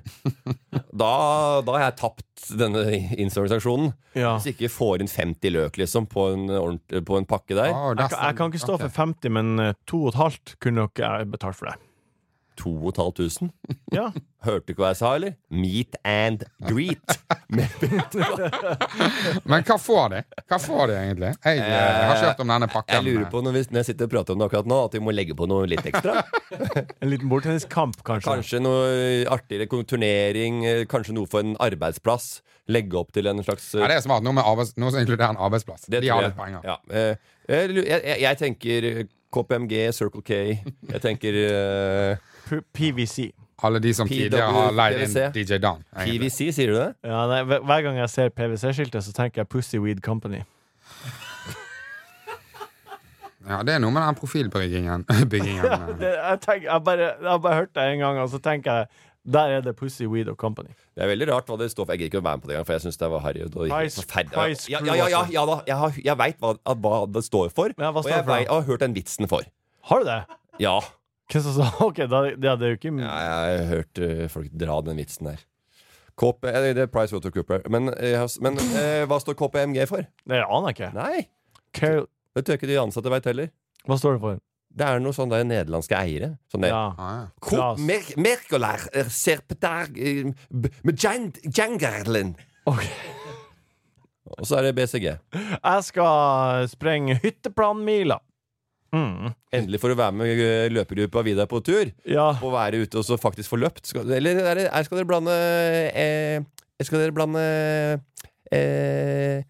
E: da, da har jeg tapt denne innsamlingsaksjonen.
B: Ja.
E: Hvis jeg ikke får inn 50 løk liksom, på, en, ordent- på en pakke der.
D: Å,
B: Jeg,
D: der-
B: kan- jeg kan ikke stå
D: ok.
B: for 50, men eh, to og et halvt kunne dere jeg betalt for det.
E: 2500.
B: Ja.
E: Hørte du ikke hva jeg sa, eller? Meet and greet.
D: Men hva får de? Hva får de egentlig? Jeg, eh, har ikke hørt om denne pakken. eh.
E: Jeg lurer på når, vi, når jeg sitter og prater om det akkurat nå, at vi må legge på noe litt ekstra.
B: En liten bordtenniskamp, kanskje.
E: Kanskje noe artigere kon- turnering, eh, kanskje noe for en arbeidsplass. Legge opp til en slags eh,
D: Ja, det er smart. Noe, med arbeids, noe som inkluderer en arbeidsplass.
E: det
D: de
E: tror
D: har
E: jeg.
D: litt penger.
E: Ja. eh, Jeg, jeg, jeg tenker KPMG, Circle K. Jeg tenker eh,
B: P- PVC.
D: Alle de som
E: PW,
D: tidligere har leid inn
E: PVC.
D: DJ Dan. egentlig.
E: PVC, sier du det?
B: Ja, nei, hver- hver gang jeg ser PwC-skiltet, så tenker jeg Pussy Weed Company.
D: Ja, det er noe med den profilbyggingen. byggingen, eh.
B: Det, jeg, tenker, jeg, bare, jeg har bare hørt det en gang, og så tenker jeg der er det Pussy Weed og Company.
E: Det er veldig rart hva det står for. Jeg gidder ikke å være med på det engang, for jeg syns det var harry. og det var helt
B: Price-
E: forferdelig.
B: Price
E: ja, ja, ja, ja, ja da. Jeg, har- jeg veit hva, at- hva det står for,
B: altså. Ja, hva
E: og
B: står
E: jeg,
B: det for da?
E: vet- har hørt den vitsen for.
B: Har du det?
E: Ja.
B: Hvem som sa Ok, da, ja, det er jo ikke
E: ja jeg har hørt eh, folk dra den vitsen der. KP, eh, det er Price Watercooper. Men, eh, jeg har- men eh, hva står KPMG for?
B: Det aner jeg ikke.
E: Nei!
B: Car-
E: Det tror jeg ikke de ansatte veit heller.
B: Hva står det for?
E: Det er noe sånn der nederlandske eiere. Sånn der
B: Ja.
D: Ah, ja.
E: Koop
B: Klas.
E: Mer- Merkelaar, eh, Serpetar, eh, B- med Jan- Jangerlen.
B: Ok.
E: Og så er det BCG.
B: Jeg skal sprenge hytteplanmila. Mm.
E: Endelig får du være med eh, løpegruppa videre på tur.
B: Ja.
E: På å være ute og så faktisk få løpt. Skal, eller er det, er, skal dere blande eh, Skal dere blande eh, eh,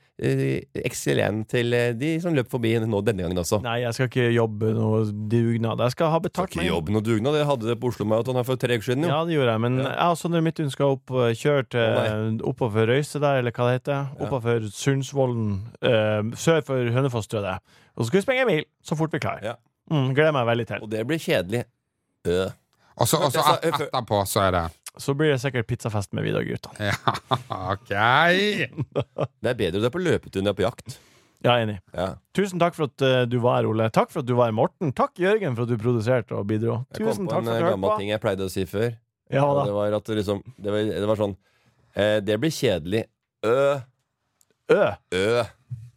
E: XL1 til eh, de som løp forbi nå denne gangen også?
B: Nei, jeg skal ikke jobbe noe dugnad. Jeg skal ha
E: Takk
B: betalt.
E: for
B: meg.
E: jobben og dugnad. Dere hadde det på Oslo Marathon her for tre uker siden. Jo.
B: Ja, det gjorde jeg, men
E: Ja.
B: jeg og Sondre Midthun skal opp, eh, kjøre til oppover Røyse der, eller hva det heter. Oppover Sundsvollen, eh, sør for Hønefoss, tror jeg det er. Og så skal vi sprenge en mil, så fort vi klarer.
E: Ja.
B: Mm, gleder meg veldig til.
E: Og det blir kjedelig. Øh.
D: Og så og så
E: Jeg sa-
D: et- etterpå så er det
B: Så blir det sikkert pizzafest med Vidar-guttene.
D: Ja, OK!
E: Det er bedre å dra på løpetur enn det er på jakt.
B: Ja, enig.
E: Ja.
B: Tusen takk for at eh, du var her, Ole. Takk for at du var her, Morten. Takk, Jørgen, for at du produserte og bidro.
E: Jeg
B: Tusen
E: kom
B: takk for at
E: på en eh,
B: du hørte
E: gammel
B: på.
E: ting jeg pleide å si før.
B: Ja
E: Og
B: da.
E: det var at det liksom Det var, det var sånn eh, Det blir kjedelig. Øh.
B: Ø.
E: Øh.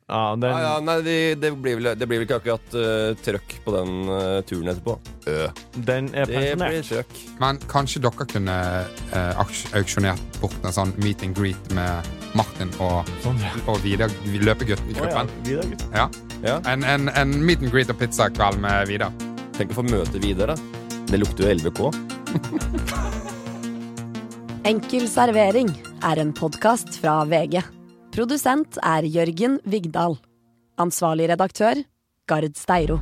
B: Ja, den,
E: Ja, ja, nei, det, det, blir vel, det blir vel ikke akkurat eh, trøkk på den eh, turen etterpå. Øh.
B: den er
E: Det blir
B: pensjonert.
E: trøkk.
D: Men kanskje dere kunne eh, aks- auksjonert bort en sånn meet and greet med Martin og,
B: Sondre.
D: og Vidar, løpegutten
B: Å
D: i
B: ja,
D: gruppen?
B: Vidar-gutt.
D: Ja.
E: Ja.
D: En, en, en meet and greet og pizzakveld med Vidar.
E: Tenk å få møte Vidar, da. Det lukter jo LVK.
A: Enkel servering er en podkast fra VG. Produsent er Jørgen Vigdal. Ansvarlig redaktør, Gard Steiro.